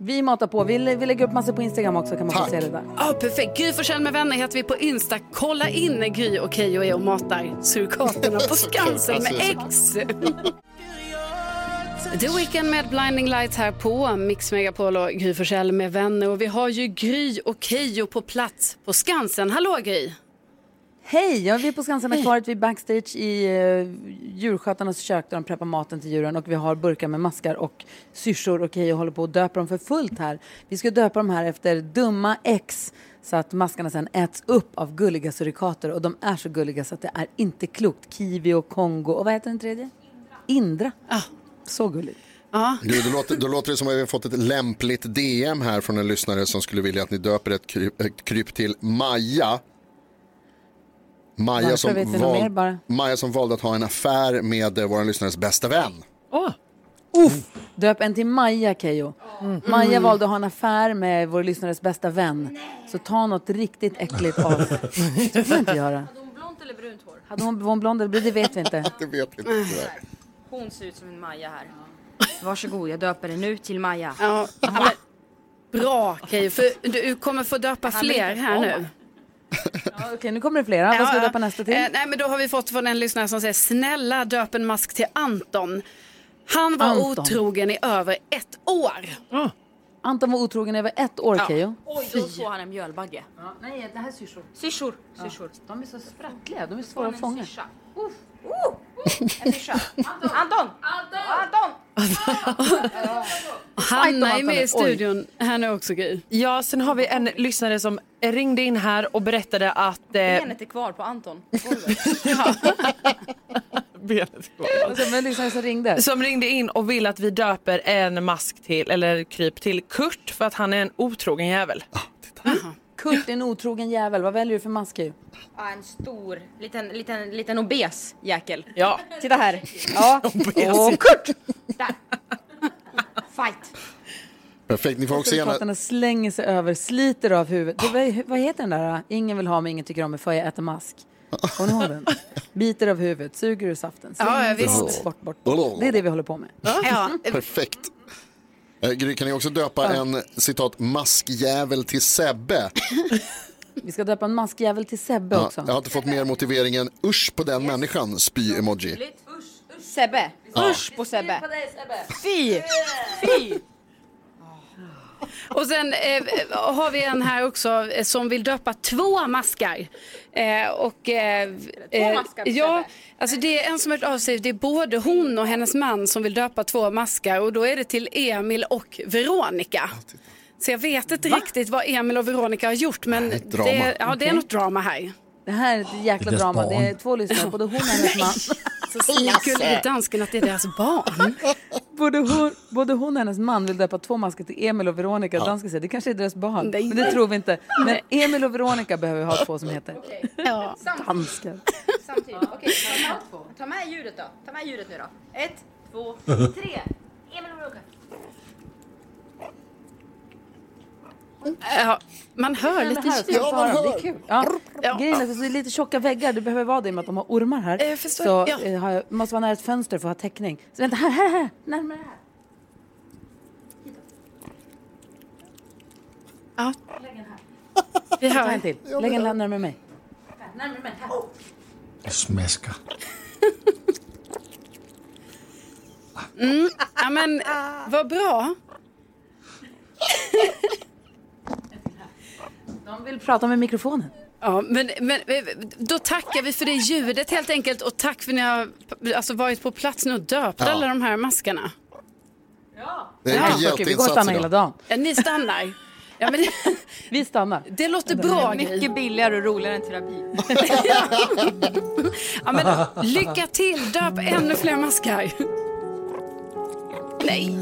[SPEAKER 1] Vi matar på. Vi, lä- vi lägger upp massor på Instagram också kan man få se det där.
[SPEAKER 4] Ja, perfekt. Gry Forssell med vänner heter vi på Insta. Kolla in Gry och Keyyo är och matar surikaterna på Skansen med ex. The Weeknd med Blinding Lights här på Mix Megapol och Gry Forssell med vänner. Och vi har ju Gry och Keyyo på plats på Skansen. Hallå Gry!
[SPEAKER 1] Hej, ja, vi är på Skansen akvariet, vi är backstage i eh, djurskötarnas kök där de preppar maten till djuren och vi har burkar med maskar och syrsor och Keyyo håller på och döper dem för fullt här. Vi ska döpa dem här efter dumma ex så att maskarna sen äts upp av gulliga surikater och de är så gulliga så att det är inte klokt. Kiwi och Kongo och vad heter den tredje? Indra. Så gulligt.
[SPEAKER 2] Du, då, låter, då låter det som att vi har fått ett lämpligt DM här från en lyssnare som skulle vilja att ni döper ett kryp, ett kryp till Maja. Maja
[SPEAKER 1] Varför
[SPEAKER 2] som,
[SPEAKER 1] vet vi något mer bara?
[SPEAKER 2] val, Maja som valde att ha en
[SPEAKER 1] Ah.
[SPEAKER 2] affär med eh, vår lyssnares bästa vän.
[SPEAKER 1] Mm. Uff, döp en till Maja Keyyo.
[SPEAKER 2] Mm.
[SPEAKER 1] Maja valde att ha en affär med vår lyssnares bästa vän. Så ta något riktigt äckligt
[SPEAKER 2] <laughs>
[SPEAKER 1] av. Det får man inte göra.
[SPEAKER 10] Blont eller brunt hår?
[SPEAKER 1] Hade hon, var hon blond eller brun? Det vet vi inte.
[SPEAKER 2] <laughs> Det vet vi inte. tyvärr.
[SPEAKER 10] Hon ser ut som en Maja här. Varsågod, jag döper den nu till Maja.
[SPEAKER 4] Ja, men, bra Keyyo, för du kommer få döpa
[SPEAKER 10] Han vill
[SPEAKER 4] fler
[SPEAKER 10] inte
[SPEAKER 4] här
[SPEAKER 10] komma.
[SPEAKER 4] nu.
[SPEAKER 1] Okej, nu kommer det flera. Vad ska vi döpa nästa till?
[SPEAKER 4] Eh, nej, men då har vi fått från en lyssnare som säger snälla döp en mask till Anton. Han var
[SPEAKER 1] Anton.
[SPEAKER 4] otrogen i över ett år.
[SPEAKER 1] Anton var otrogen över ett år, Keyyo.
[SPEAKER 10] Oj, då får han en mjölbagge.
[SPEAKER 1] nej, det här är syrsor.
[SPEAKER 10] Syrsor.
[SPEAKER 1] syrsor. De är så sprattliga, de är svåra att fånga. <laughs>
[SPEAKER 10] Anton! Anton! Anton!
[SPEAKER 4] Hanna är med i
[SPEAKER 8] Oj.
[SPEAKER 4] studion här nu också Gry.
[SPEAKER 8] Ja, sen har vi en lyssnare som ringde in här och berättade att... Eh,
[SPEAKER 10] Benet är kvar på Anton.
[SPEAKER 8] benet
[SPEAKER 1] Som en lyssnare som ringde.
[SPEAKER 8] som ringde in och vill att vi döper en mask till, eller kryp till Kurt för att han är en otrogen jävel.
[SPEAKER 1] Kurt är en otrogen jävel. Vad väljer du för mask, Keyyo?
[SPEAKER 10] Ja, en stor, liten, liten, liten obes jäkel.
[SPEAKER 8] Ja.
[SPEAKER 10] Titta här. <laughs> Ja. Och Kurt! Där. Fight.
[SPEAKER 2] Perfekt, ni får också gärna...
[SPEAKER 1] Demokraterna slänger sig över, sliter av huvudet. Det, var- vad heter den där? äh, Ingen vill ha mig, ingen tycker om mig, för jag äter mask. Kommer ni ihåg den? Biter av huvudet, suger ur saften.
[SPEAKER 4] Ja,
[SPEAKER 1] slänger
[SPEAKER 4] ja, visst.
[SPEAKER 1] bort, Bort, bort, bort. Det är det vi håller på med.
[SPEAKER 4] Ja.
[SPEAKER 2] Perfekt. Eh, Gry, kan ni också döpa en citat maskjävel till Sebbe?
[SPEAKER 1] Vi ska döpa en maskjävel till Sebbe
[SPEAKER 2] Ja,
[SPEAKER 1] också.
[SPEAKER 2] jag har inte fått mer motiveringen usch på den människan, spy-emoji.
[SPEAKER 10] Sebbe.
[SPEAKER 2] Ja.
[SPEAKER 10] Usch på Sebbe.
[SPEAKER 4] Fy! Fy! Och sen eh, har vi en här också eh, som vill döpa två maskar. Eh, och, eh, eh,
[SPEAKER 10] maskar,
[SPEAKER 4] ja, alltså det är en som har hört av sig, det är både hon och hennes man som vill döpa två maskar och då är det till Emil och Veronica. Så jag vet inte riktigt vad Emil och Veronica har gjort men
[SPEAKER 1] ett drama.
[SPEAKER 4] det, ja, det är
[SPEAKER 1] Okej.
[SPEAKER 4] något drama här.
[SPEAKER 1] Det här är ett jäkla
[SPEAKER 4] Det är deras
[SPEAKER 1] drama. Det är
[SPEAKER 4] barn.
[SPEAKER 1] två lyssnare, både hon och hennes man.
[SPEAKER 4] <laughs> Så gullig dansken att det är deras barn.
[SPEAKER 1] <laughs> Både hon, både hon och hennes man vill döpa två masker till Emil och Veronica. Ja. Dansken säger det kanske är deras barn,
[SPEAKER 4] Nej.
[SPEAKER 1] men det tror vi inte. Men Emil och Veronica behöver vi ha två som heter.
[SPEAKER 4] Ja.
[SPEAKER 1] Danskar.
[SPEAKER 10] Samtidigt. Okej, ta med- ta med ljudet då. Ta med ljudet nu då. Ett, två, tre. Emil och Veronica.
[SPEAKER 1] Eh,
[SPEAKER 4] Ja, man hör
[SPEAKER 1] Nej, men
[SPEAKER 4] lite
[SPEAKER 1] här ska
[SPEAKER 4] ljud.
[SPEAKER 1] vi svara. Det är kul. Ja. Grejen är att det är lite tjocka väggar. Det behöver vara det i och med att de har ormar här.
[SPEAKER 4] Jag förstår,
[SPEAKER 1] så
[SPEAKER 4] ja.
[SPEAKER 1] eh, har jag, måste vara nära ett fönster för att ha täckning. Så vänta, här, här, här. <laughs> Närmare här.
[SPEAKER 4] Ja.
[SPEAKER 1] Lägg den här.
[SPEAKER 4] Vi
[SPEAKER 1] Ta en
[SPEAKER 4] hör.
[SPEAKER 1] till. Lägg den närmare mig. Närmare mig.
[SPEAKER 4] <laughs>
[SPEAKER 1] Här.
[SPEAKER 5] Smasker.
[SPEAKER 4] Mm. Ja, men vad bra.
[SPEAKER 1] De vill prata med mikrofonen.
[SPEAKER 4] Ja, men, men då tackar vi för det ljudet helt enkelt och tack för att ni har alltså, varit på plats nu och döpt
[SPEAKER 2] Ja.
[SPEAKER 4] alla de här maskarna.
[SPEAKER 2] Det är en
[SPEAKER 1] okej, vi går och
[SPEAKER 2] hjälteinsats
[SPEAKER 1] stannar hela
[SPEAKER 2] idag.
[SPEAKER 1] dagen.
[SPEAKER 4] Ja, ni stannar. Ja, men det,
[SPEAKER 1] <laughs> vi stannar.
[SPEAKER 4] Det låter bra.
[SPEAKER 10] Mycket billigare och roligare än terapi.
[SPEAKER 4] <laughs> ja, men, lycka till, döp ännu fler maskar. Nej.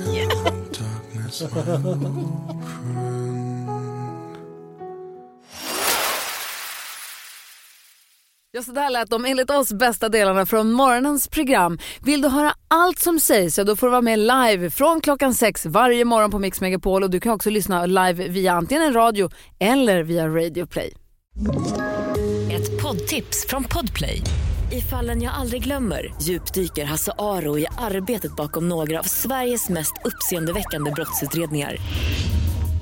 [SPEAKER 1] Ja, så där lät de enligt oss bästa delarna från morgonens program. Vill du höra allt som sägs så då får du vara med live från klockan sex varje morgon på Mix Megapol och du kan också lyssna live via antingen en radio eller via Radio Play.
[SPEAKER 14] Ett poddtips från Podplay. I fallen jag aldrig glömmer djupdyker Hasse Aro i arbetet bakom några av Sveriges mest uppseendeväckande brottsutredningar.